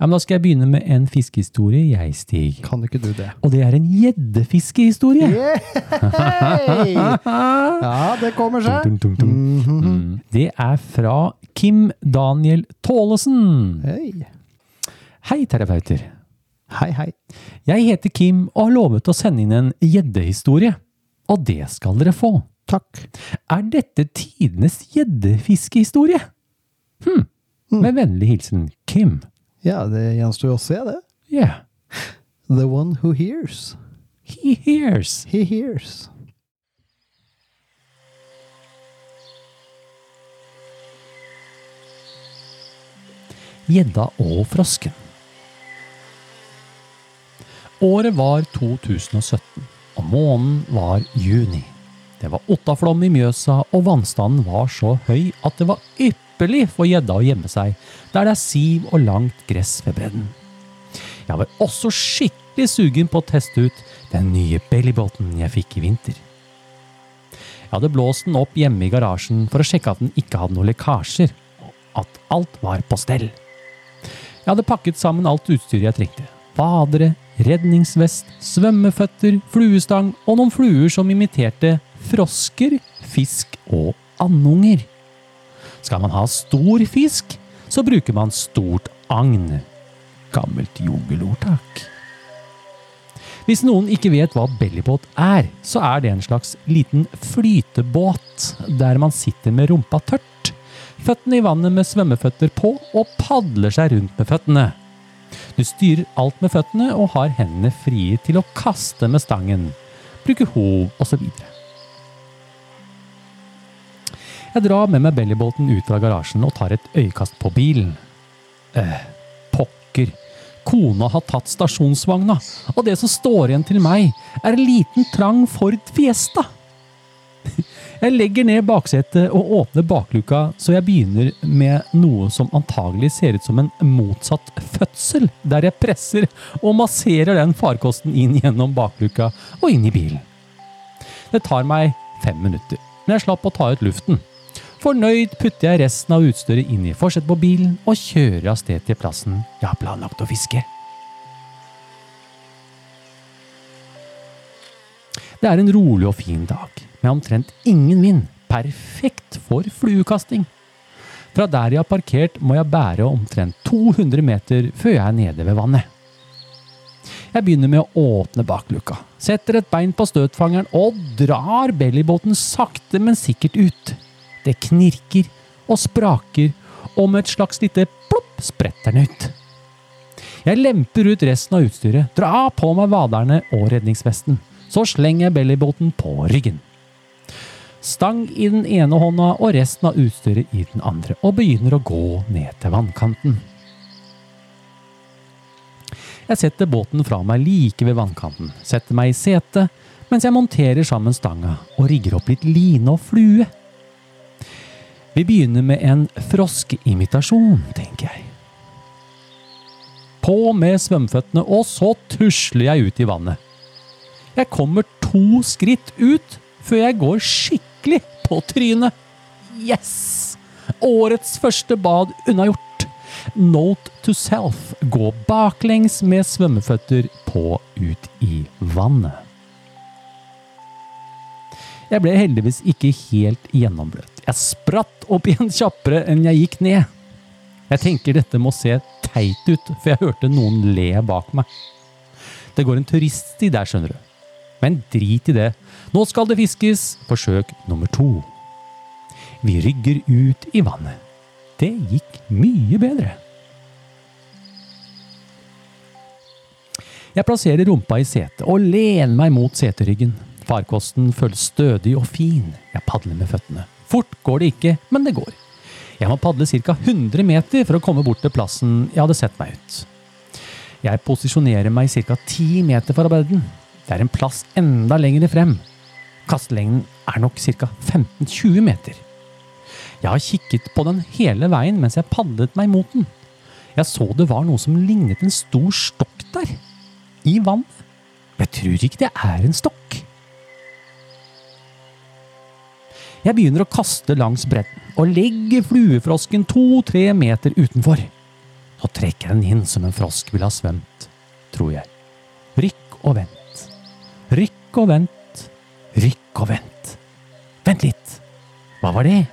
men Da skal jeg begynne med en fiskehistorie, jeg, Stig.
Kan ikke du det?
Og det er en gjeddefiskehistorie.
Hei! Ja, det kommer seg.
Dun, dun, dun, dun. Mm. Det er fra Kim Daniel Tålesen.
Hei,
Hei, terapeuter.
hei. hei.
Jeg heter Kim og har lovet å sende inn en gjeddehistorie. Og det skal dere få. Takk. Er dette tidenes gjeddefiskehistorie? Hm. Med vennlig hilsen Kim.
Ja, det gjenstår jo å se, det.
Yeah,
The one who hears,
he hears.
he hears.
Gjedda og frosken. Året var 2017, og måneden var juni. Det var ottaflom i Mjøsa, og vannstanden var så høy at det var ypperlig for gjedda å gjemme seg, der det er siv og langt gress ved bredden. Jeg var også skikkelig sugen på å teste ut den nye bellybåten jeg fikk i vinter. Jeg hadde blåst den opp hjemme i garasjen for å sjekke at den ikke hadde noen lekkasjer, og at alt var på stell. Jeg hadde pakket sammen alt utstyret jeg trengte. Badere, redningsvest, svømmeføtter, fluestang og noen fluer som imiterte frosker, fisk og andunger. Skal man ha stor fisk, så bruker man stort agn. Gammelt jungelord, takk. Hvis noen ikke vet hva bellybåt er, så er det en slags liten flytebåt der man sitter med rumpa tørt, føttene i vannet med svømmeføtter på og padler seg rundt med føttene. Du styrer alt med føttene og har hendene frie til å kaste med stangen, bruke hov osv. Jeg drar med meg bellybåten ut fra garasjen og tar et øyekast på bilen. Pokker. Kona har tatt stasjonsvogna, og det som står igjen til meg, er en liten, trang Ford Fiesta. Jeg legger ned baksetet og åpner bakluka, så jeg begynner med noe som antagelig ser ut som en motsatt fødsel, der jeg presser og masserer den farkosten inn gjennom bakluka og inn i bilen. Det tar meg fem minutter, men jeg slapp å ta ut luften. Fornøyd putter jeg resten av utstyret inn i forsetet på bilen og kjører av sted til plassen jeg har planlagt å fiske. Det er en rolig og fin dag, med omtrent ingen vind. Perfekt for fluekasting. Fra der jeg har parkert, må jeg bære omtrent 200 meter før jeg er nede ved vannet. Jeg begynner med å åpne bakluka, setter et bein på støtfangeren og drar bellybåten sakte, men sikkert ut. Det knirker og spraker, og med et slags lite plopp spretter den ut. Jeg lemper ut resten av utstyret, drar på meg vaderne og redningsvesten. Så slenger jeg bellybåten på ryggen. Stang i den ene hånda og resten av utstyret i den andre, og begynner å gå ned til vannkanten. Jeg setter båten fra meg like ved vannkanten, setter meg i setet, mens jeg monterer sammen stanga og rigger opp litt line og flue. Vi begynner med en froskeimitasjon, tenker jeg. På med svømmeføttene, og så tusler jeg ut i vannet. Jeg kommer to skritt ut før jeg går skikkelig på trynet. Yes! Årets første bad unnagjort. Note to self gå baklengs med svømmeføtter på ut i vannet. Jeg ble heldigvis ikke helt gjennombløt. Jeg spratt opp igjen kjappere enn jeg gikk ned. Jeg tenker dette må se teit ut, for jeg hørte noen le bak meg. Det går en turiststi der, skjønner du. Men drit i det. Nå skal det fiskes. Forsøk nummer to. Vi rygger ut i vannet. Det gikk mye bedre. Jeg plasserer rumpa i setet og lener meg mot seteryggen. Farkosten føles stødig og fin. Jeg padler med føttene. Fort går det ikke, men det går. Jeg må padle ca. 100 meter for å komme bort til plassen jeg hadde sett meg ut. Jeg posisjonerer meg ca. 10 meter fra bredden. Det er en plass enda lenger frem. Kastelengden er nok ca. 15-20 meter. Jeg har kikket på den hele veien mens jeg padlet meg mot den. Jeg så det var noe som lignet en stor stokk der. I vannet. Jeg tror ikke det er en stokk. Jeg begynner å kaste langs bredden og legger fluefrosken to-tre meter utenfor. Nå trekker jeg den inn som en frosk ville ha svømt, tror jeg. Rykk og vent. Rykk og vent. Rykk og vent. Vent litt. Hva var det?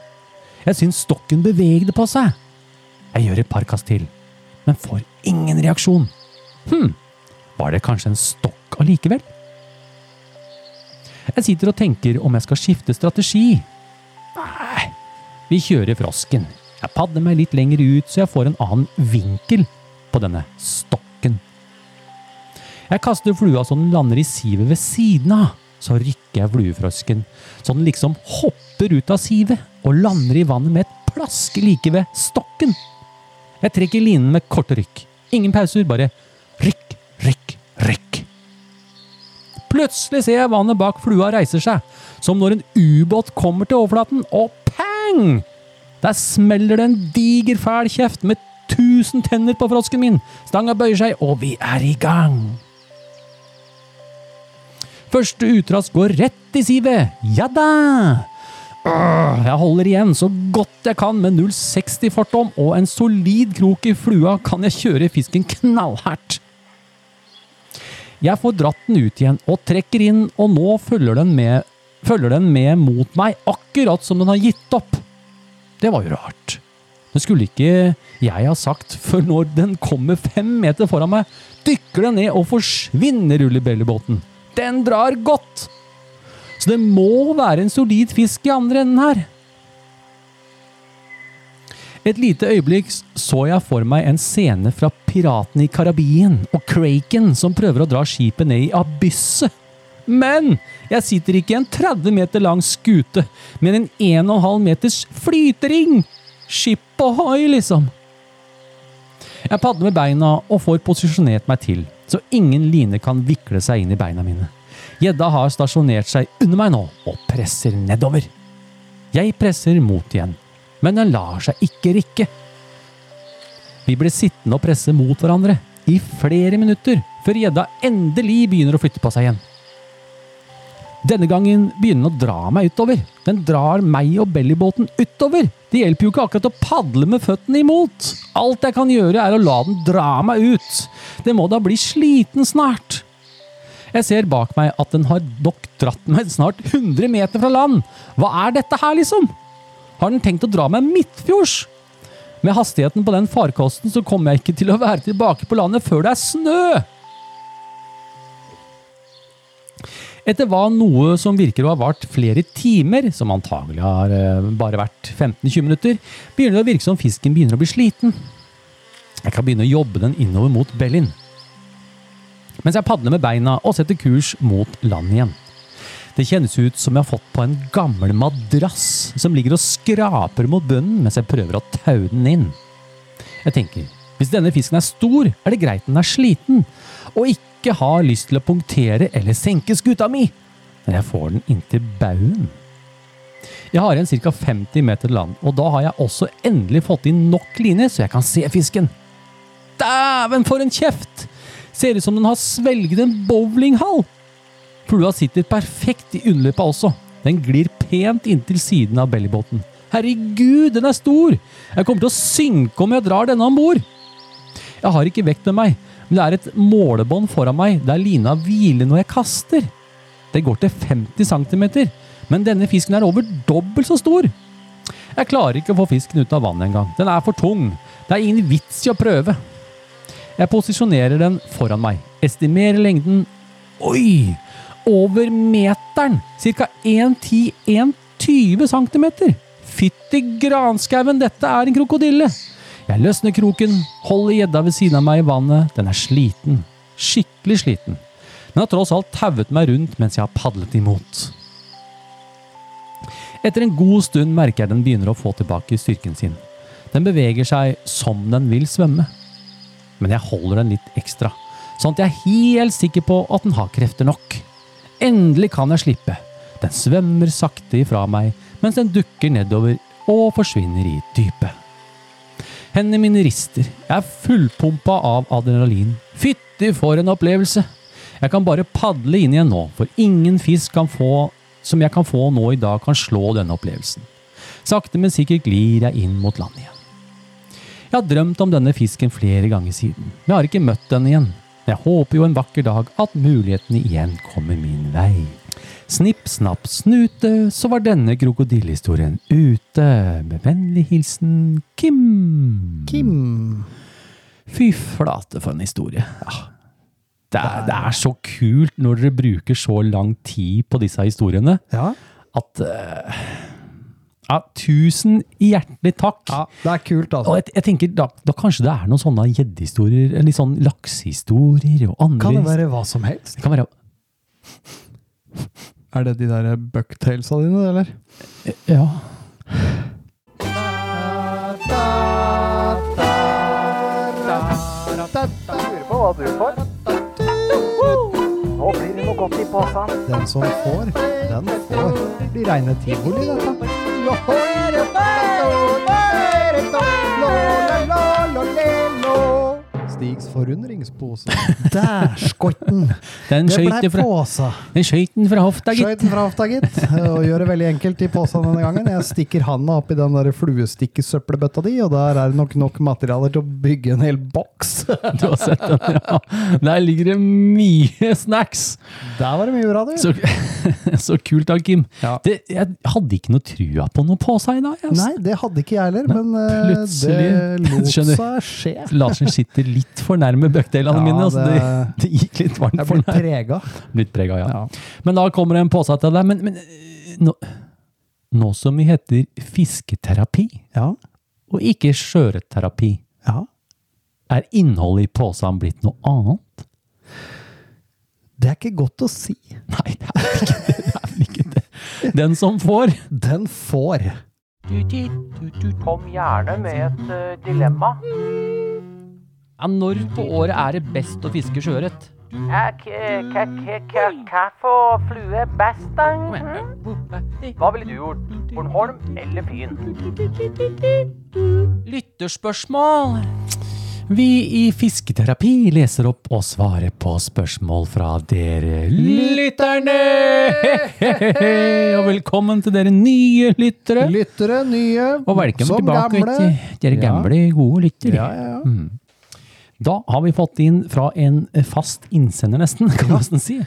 Jeg syns stokken bevegde på seg. Jeg gjør et par kast til, men får ingen reaksjon. Hm, var det kanskje en stokk allikevel? Jeg sitter og tenker om jeg skal skifte strategi. Nei, vi kjører frosken. Jeg padler meg litt lenger ut, så jeg får en annen vinkel på denne stokken. Jeg kaster flua så den lander i sivet ved siden av. Så rykker jeg fluefrosken, så den liksom hopper ut av sivet og lander i vannet med et plask like ved stokken. Jeg trekker linen med korte rykk. Ingen pauser, bare rykk, rykk, rykk. Plutselig ser jeg vannet bak flua reiser seg, som når en ubåt kommer til overflaten, og pang! Der smeller det en diger, fæl kjeft med tusen tenner på frosken min. Stanga bøyer seg, og vi er i gang. Første utkast går rett i sivet! Ja da! Øh, Jeg holder igjen så godt jeg kan med 0,60 fortom og en solid krok i flua kan jeg kjøre fisken knallhardt. Jeg får dratt den ut igjen og trekker inn, og nå følger den med, følger den med mot meg akkurat som den har gitt opp. Det var jo rart. Det skulle ikke jeg ha sagt før når den kommer fem meter foran meg, dykker den ned og forsvinner rullebellybåten. Den drar godt! Så det må være en solid fisk i andre enden her. Et lite øyeblikk så jeg for meg en scene fra Piratene i Karabien og Kraken som prøver å dra skipet ned i abysset. Men jeg sitter ikke i en 30 meter lang skute, men en 1,5 meters flytering! Skip ohoi, liksom. Jeg padler med beina og får posisjonert meg til, så ingen line kan vikle seg inn i beina mine. Gjedda har stasjonert seg under meg nå og presser nedover. Jeg presser mot igjen, men den lar seg ikke rikke. Vi blir sittende og presse mot hverandre i flere minutter før gjedda endelig begynner å flytte på seg igjen. Denne gangen begynner den å dra meg utover. Den drar meg og bellybåten utover. Det hjelper jo ikke akkurat å padle med føttene imot. Alt jeg kan gjøre, er å la den dra meg ut. Den må da bli sliten snart. Jeg ser bak meg at den har nok dratt meg snart 100 meter fra land. Hva er dette her, liksom? Har den tenkt å dra meg midtfjords? Med hastigheten på den farkosten så kommer jeg ikke til å være tilbake på landet før det er snø! Etter hva noe som virker å ha vart flere timer, som antagelig har eh, bare vært 15-20 minutter, begynner det å virke som fisken begynner å bli sliten. Jeg kan begynne å jobbe den innover mot Bellin. Mens jeg padler med beina og setter kurs mot land igjen. Det kjennes ut som jeg har fått på en gammel madrass som ligger og skraper mot bunnen mens jeg prøver å taue den inn. Jeg tenker, hvis denne fisken er stor, er det greit den er sliten, og ikke har lyst til å punktere eller senke skuta mi, men jeg får den inntil baugen. Jeg har igjen ca. 50 meter til land, og da har jeg også endelig fått inn nok line, så jeg kan se fisken. Dæven, for en kjeft! Ser ut som den har svelget en bowlinghall! Flua sitter perfekt i underløpet også. Den glir pent inntil siden av bellybåten. Herregud, den er stor! Jeg kommer til å synke om jeg drar denne om bord! Jeg har ikke vekt med meg, men det er et målebånd foran meg der lina hviler når jeg kaster. Det går til 50 cm, men denne fisken er over dobbelt så stor! Jeg klarer ikke å få fisken ut av vannet engang. Den er for tung. Det er ingen vits i å prøve. Jeg posisjonerer den foran meg, estimerer lengden Oi! Over meteren! Ca. 1,10-1,20 cm! Fytti granskauen, dette er en krokodille! Jeg løsner kroken, holder gjedda ved siden av meg i vannet. Den er sliten. Skikkelig sliten. Den har tross alt tauet meg rundt mens jeg har padlet imot. Etter en god stund merker jeg den begynner å få tilbake styrken sin. Den beveger seg som den vil svømme men jeg holder den litt ekstra, sånn at jeg er helt sikker på at den har krefter nok. Endelig kan jeg slippe. Den svømmer sakte ifra meg, mens den dukker nedover og forsvinner i dypet. Hendene mine rister. Jeg er fullpumpa av adrenalin. Fytti for en opplevelse! Jeg kan bare padle inn igjen nå, for ingen fisk kan få, som jeg kan få nå i dag, kan slå denne opplevelsen. Sakte, men sikkert glir jeg inn mot land igjen. Jeg har drømt om denne fisken flere ganger siden, men jeg har ikke møtt den igjen. Jeg håper jo en vakker dag at mulighetene igjen kommer min vei. Snipp, snapp, snute, så var denne krokodillehistorien ute. Med vennlig hilsen Kim.
Kim.
Fy flate for en historie. Ja. Det, er, det er så kult når dere bruker så lang tid på disse historiene
Ja.
at eh, ja, Tusen hjertelig takk.
ja. Det er kult, altså.
Og jeg, jeg tenker, da, da kanskje det er noen sånne gjeddehistorier, eller litt sånn laksehistorier og andre
Kan det være hva som helst?
det kan være
Er det de der bucktailsa dine, eller?
Ja.
Lurer på hva du får. Nå blir det noe godt i posen.
Den som får, den får. Det blir reine tivoli, dette. Stigs forundringspose. Der skøyt den!
Den
Det
skøyt
blei
fra,
påsa.
den skjøt den fra hofta, gitt.
Skøyt den fra hofta, gitt. Og gjør det veldig enkelt i posen denne gangen. Jeg stikker handa oppi den der fluestikkesøppelbøtta di, og der er det nok nok materialer til å bygge en hel boks.
Du har sett den, ja. Der ligger det mye snacks.
Der var det mye bra, du.
Så, så kult da, Kim.
Ja.
Det, jeg hadde ikke noe trua på noe på seg i dag. altså.
Nei, det hadde ikke jeg heller, men eh,
plutselig-
det lot
Skjønner.
seg skje.
Larsen sitter litt for nærme bøkdelene
Ja,
mine. Altså, det,
det-
det gikk litt varmt
Jeg
for
blir
meg.
prega.
Litt prega, ja.
Ja.
Men da kommer det en påse til deg. Men, men eh, nå, nå som vi heter fisketerapi,
Ja.
og ikke skjøreterapi,
ja.
er innholdet i posen blitt noe annet?
Det er ikke godt å si.
Nei, det er ikke det. det, er vel ikke det. Den som får.
Den får.
Kom gjerne med et eh, dilemma.
Ja, når på året er det best å fiske sjøørret?
Hva for flue best, da? Mhm. Hva ville du gjort? Bornholm eller Fyn?
Lytterspørsmål!
Vi i Fisketerapi leser opp og svarer på spørsmål fra dere lytterne! Og velkommen til dere nye lyttere!
Lyttere, nye,
Og velkommen
som
tilbake
gamle.
til Mm. dere gamle, gode lyttere.
Ja, ja, ja.
Da har vi fått inn fra en fast innsender, nesten, kan man nesten si.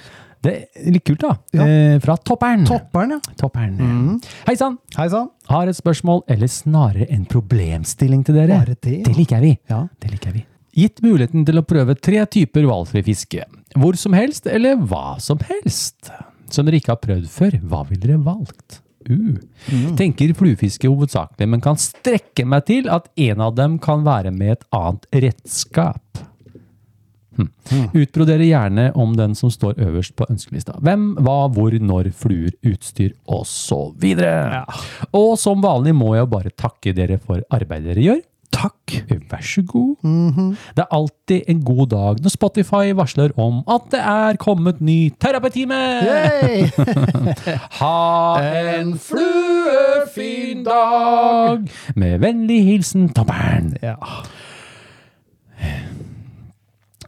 Det er litt kult, da.
Ja. Mm.
Eh, Fra Toppern.
Topperen, ja.
Toppern. Hei sann!
Hei sann.
Har et spørsmål, eller snarere en problemstilling til dere.
Bare det, ja.
Det liker vi.
Ja.
Det liker vi. Gitt muligheten til å prøve tre typer hvalfri fiske. Hvor som helst, eller hva som helst. Som dere ikke har prøvd før, hva ville dere valgt? Uh.
Mm.
Tenker fluefiske hovedsakelig, men kan strekke meg til at en av dem kan være med et annet redskap. Hm. Utbroderer gjerne om den som står øverst på ønskelista. Hvem, hva, hvor, når, fluer, utstyr osv. videre. Og som vanlig må jeg bare takke dere for arbeidet dere gjør. Takk. Vær så god. Det er alltid en god dag når Spotify varsler om at det er kommet ny terapitime!
Hey!
Ha en fluefin dag! Med vennlig hilsen Toppern.
Ja.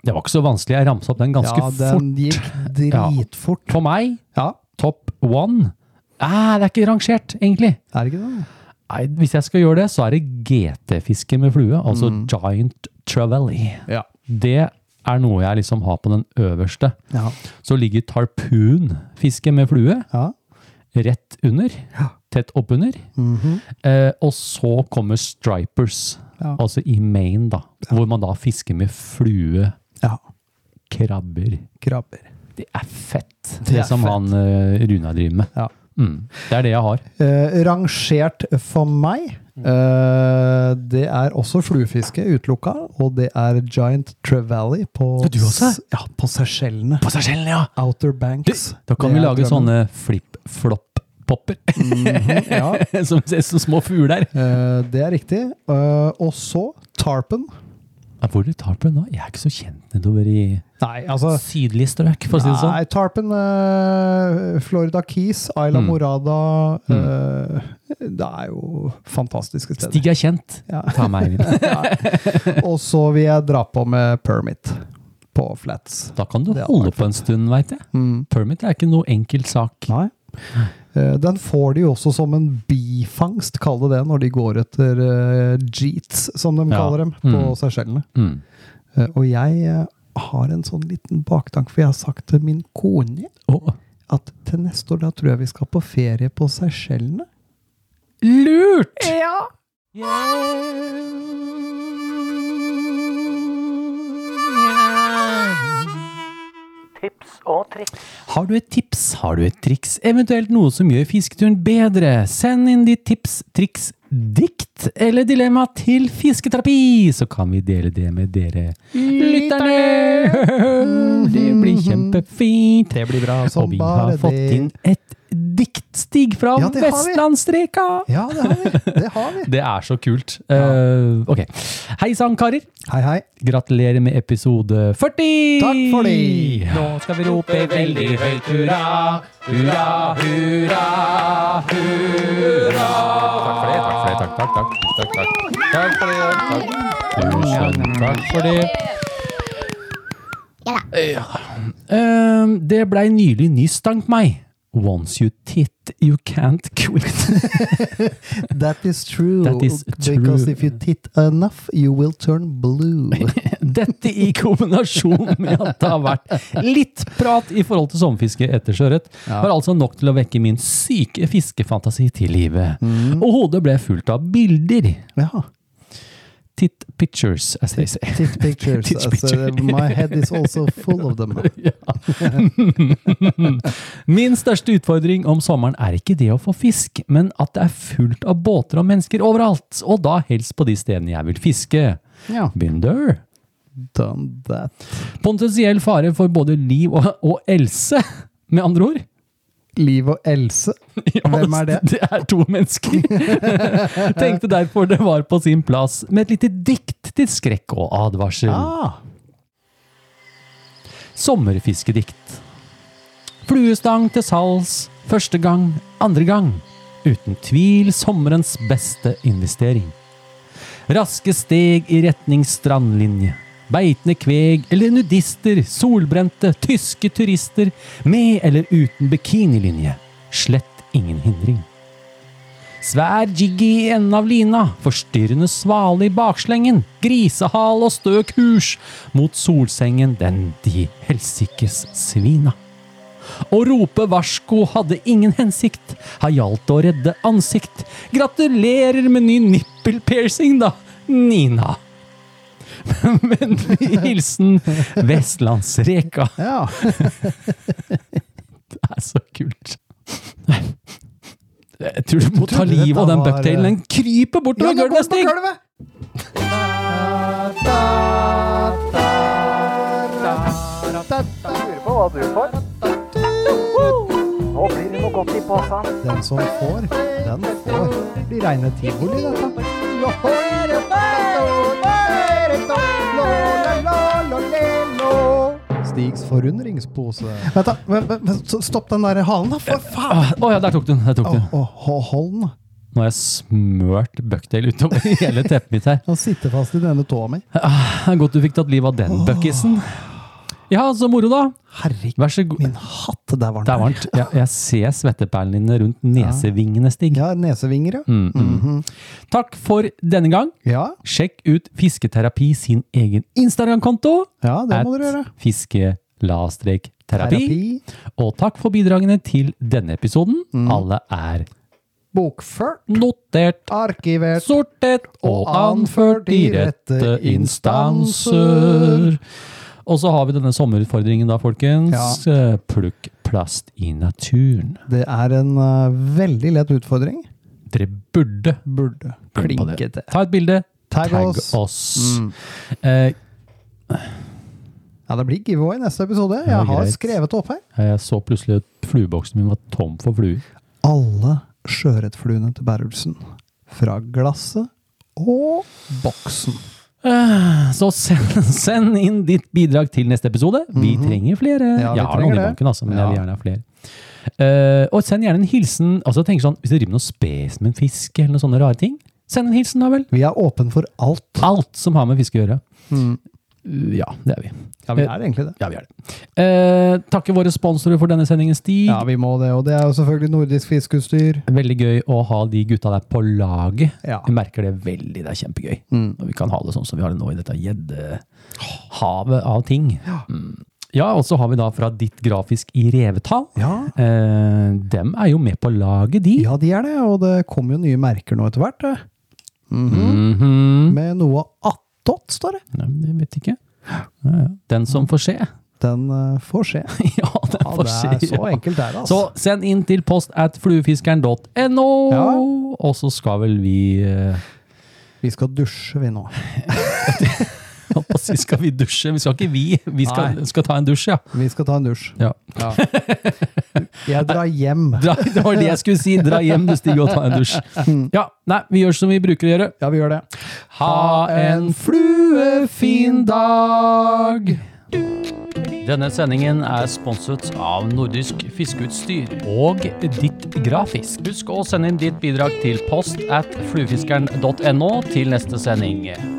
Det var ikke så vanskelig. Jeg ramsa opp den ganske
ja, den
fort.
gikk dritfort.
For meg,
Ja.
top one ah, Det er ikke rangert, egentlig.
Er det ikke det?
Nei, hvis jeg skal gjøre det, så er det GT-fiske med flue. Altså
Mm.
Giant Travelli.
Ja.
Det er noe jeg liksom har på den øverste.
Ja.
Så ligger tarpunfiske med flue
ja.
rett under. Tett oppunder. eh, og så kommer stripers,
Mhm. Ja.
altså i Maine, da. Hvor man da fisker med flue,
ja.
krabber.
Krabber.
Det er fett, det,
er
som
fett.
han eh, Runa driver med.
Ja.
Mm. Det er det jeg har.
Eh, rangert for meg
Mm.
eh, Det er også fluefiske utelukka, og det er Giant Trevally på,
du også?
s- ja, på Seychellene.
På Seychellen, ja!
Outer Banks.
Da kan
Det
vi
er
lage
drømmen.
sånne flip-flop-popper. Mhm.
Ja,
som ser så små fugler.
eh, det er riktig. Eh, og så Tarpen.
Ja, Hvor er det tarpen da? Jeg er ikke så kjent nedover i
Nei, altså
sydlige strøk, for å si det sånn.
Nei, Tarpen, eh, Florida Keys,
Mm.
Isla Morada eh, Det er jo fantastiske steder.
Stig er kjent.
Ja.
Ta meg inn.
Og så vil jeg dra på med permit på flats.
Da kan du
Det hadde
holde
vært
på en stund, veit jeg.
Mm.
Permit er ikke noe enkel sak.
Nei. Eh, Den får de jo også som en bifangst, kall det det, når de går etter eh, jeets, som de
Ja.
kaller dem, på
Mm.
Seychellene.
Mm.
Eh, og jeg eh, har en sånn liten baktanke, for jeg har sagt til min kone
Å,
at til neste år da tror jeg vi skal på ferie på Seychellene.
lurt!
Tips og triks.
Har du et tips, har du et triks, eventuelt noe som gjør fisketuren bedre, send inn ditt tips, triks, dikt eller dilemma til Fisketerapi, så kan vi dele det med dere lytterne! Det blir kjempefint!
Det blir bra
Og
som
vi
bare
har
det.
fått inn et diktstig fra
Ja, det har vi.
Vestlandsstreka!
Ja, det har vi. Det har vi.
Det er så kult. Eh, ok. Hei sann, karer.
Hei, hei.
Gratulerer med episode 40!
Takk for det.
Nå skal vi rope veldig høyt hurra, hurra, hurra, hurra! Takk for det, takk for det, takk, takk, takk. Takk, takk. takk for det. Takk. Tusen takk for det.
fisker, da.
Ehm, det blei nylig ny stank meg. Once you tit, you can't quit.
That is true.
That is true. Oh.
Because if you tit enough, you will turn blue.
Dette i kombinasjon med at det har vært litt prat i forhold til sommerfiske etter sjøørret, var altså nok til å vekke min syke fiskefantasi til live. Og hodet ble fullt av bilder.
Mm. ja.
Tit pictures, as they say.
Tit pictures.
Tit
Altså, my head is also full of them.
Min største utfordring om sommeren er ikke det å få fisk, men at det er fullt av båter og mennesker overalt, og da helst på de stedene jeg vil fiske.
Ja.
Been there.
Done that.
Potensiell fare for både liv og, og else, med andre ord.
Liv og Else. Hvem er det?
Det er to mennesker. Tenkte derfor det var på sin plass med et lite dikt til skrekk og advarsel.
Ah,
Sommerfiskedikt. Fluestang til salgs. Første gang, andre gang. Uten tvil sommerens beste investering. Raske steg i retning strandlinje. Beitende kveg eller nudister, solbrente, tyske turister, med eller uten bikinilinje. Slett ingen hindring. Svær jiggy i enden av lina, forstyrrende svale i bakslengen, grisehal og stø kurs mot solsengen den de helsikes svina. Å rope varsko hadde ingen hensikt, har gjaldt å redde ansikt. Gratulerer med ny nippelpiercing, da, Nina. Vennlig hilsen Vestlandsreka.
ja.
Det er så kult. Jeg tror du må ta
trodde
livet av
dette
den
var-
bucktailen. Den kryper bortover gulvet,
nå går den
Stig!
på gulvet!
Lurer på hva du får. Nå blir det noe godt i posen.
Den som får, den får. Det blir reine tivoli, dette. Stigs forundringspose. Vent, da. vent, vent, vent, så Stopp den der halen, da, for faen!
Ah, Å ja, der tok du den. Der tok du.
Å,
den.
å, ho- hold den.
Nå har jeg smørt bucktail utover hele teppet mitt her.
Den sitter fast i denne tåa mi.
Det er Godt du fikk tatt livet av den buckisen. Ja, så moro, da.
Herregud,
Vær så god.
min hatt! Der var den.
Det er varmt. Jeg, jeg ser svetteperlene dine rundt nesevingene, Stig. Mm,
Ja, Mhm. nesevinger, ja.
Takk for denne gang.
Ja,
Sjekk ut Fisketerapi sin egen Instagram-konto.
ja det må dere gjøre.
Fiske-terapi. Og takk for bidragene til denne episoden. Alle er
Bokført,
notert,
arkivert
sortert og anført i rette instanser. Og så har vi denne sommerutfordringen da, folkens. Eh, Plukk plast i naturen.
Det er en eh, veldig lett utfordring.
Dere burde
Burde
bli på
klinke til.
Ta et bilde,
Tagg
tagg oss.
oss. Mm.
Eh,
Ja, det blir giveaway i neste episode.
Ja,
Jeg har
greit.
skrevet det opp her.
jeg så plutselig at flueboksen min var tom for fluer.
Alle sjøørretfluene til Berulsen. Fra glasset og boksen.
Så send, send inn ditt bidrag til neste episode. Vi trenger flere.
Mhm. Ja, vi
jeg har
trenger
noen i
det.
banken, altså, men jeg vil
Ja.
gjerne ha flere. Eh, og send gjerne en hilsen. Altså, jeg tenker sånn, Hvis dere driver med noe spes med en fisk, eller noen sånne rare ting, send en hilsen, da vel.
Vi er åpen for alt. Mm.
Alt som har med fisk å gjøre. Ja, det er vi.
Ja, vi er egentlig det.
Ja, vi er det. Eh, takke våre sponsorer for denne sendingen, Stig.
Ja, vi må det. Og det er jo selvfølgelig nordisk fiskeutstyr.
Veldig gøy å ha de gutta der på laget.
Ja. Mm.
Jeg merker det veldig. Det er kjempegøy. Og vi kan ha det sånn som vi har det nå i dette gjeddehavet av ting. Mm. Ja, og så har vi da fra Ditt Grafisk i Revetal.
Ja.
Eh, dem er jo med på laget, de.
Ja, de er det. Og det kommer jo nye merker nå etter hvert. eh.
Mhm.
Med noe attåt, står det.
Nei, men Jeg vet ikke. Ja, ja. Den som får se.
Den eh, får skje.
ja, den
Ja,
får
det
se.
er så
ja.
enkelt er det, altså.
Så send inn til post at fluefiskeren.no,
Ja.
og så skal vel vi eh,
Vi skal dusje, vi nå.
holdt på å si, Skal vi dusje? Vi skal ikke vi. Vi skal, skal ta en dusj, ja.
Vi skal ta en dusj.
ja.
Jeg drar hjem.
Dra, det var det jeg skulle si. Dra hjem, du, Stig, og ta en dusj. Ja, nei, vi gjør som vi bruker å gjøre.
Ja, vi gjør det.
Ha en fluefin dag! Denne sendingen er sponset av Nordisk Fiskeutstyr og Ditt Grafisk. Husk å sende inn ditt bidrag til post at fluefiskeren.no til neste sending.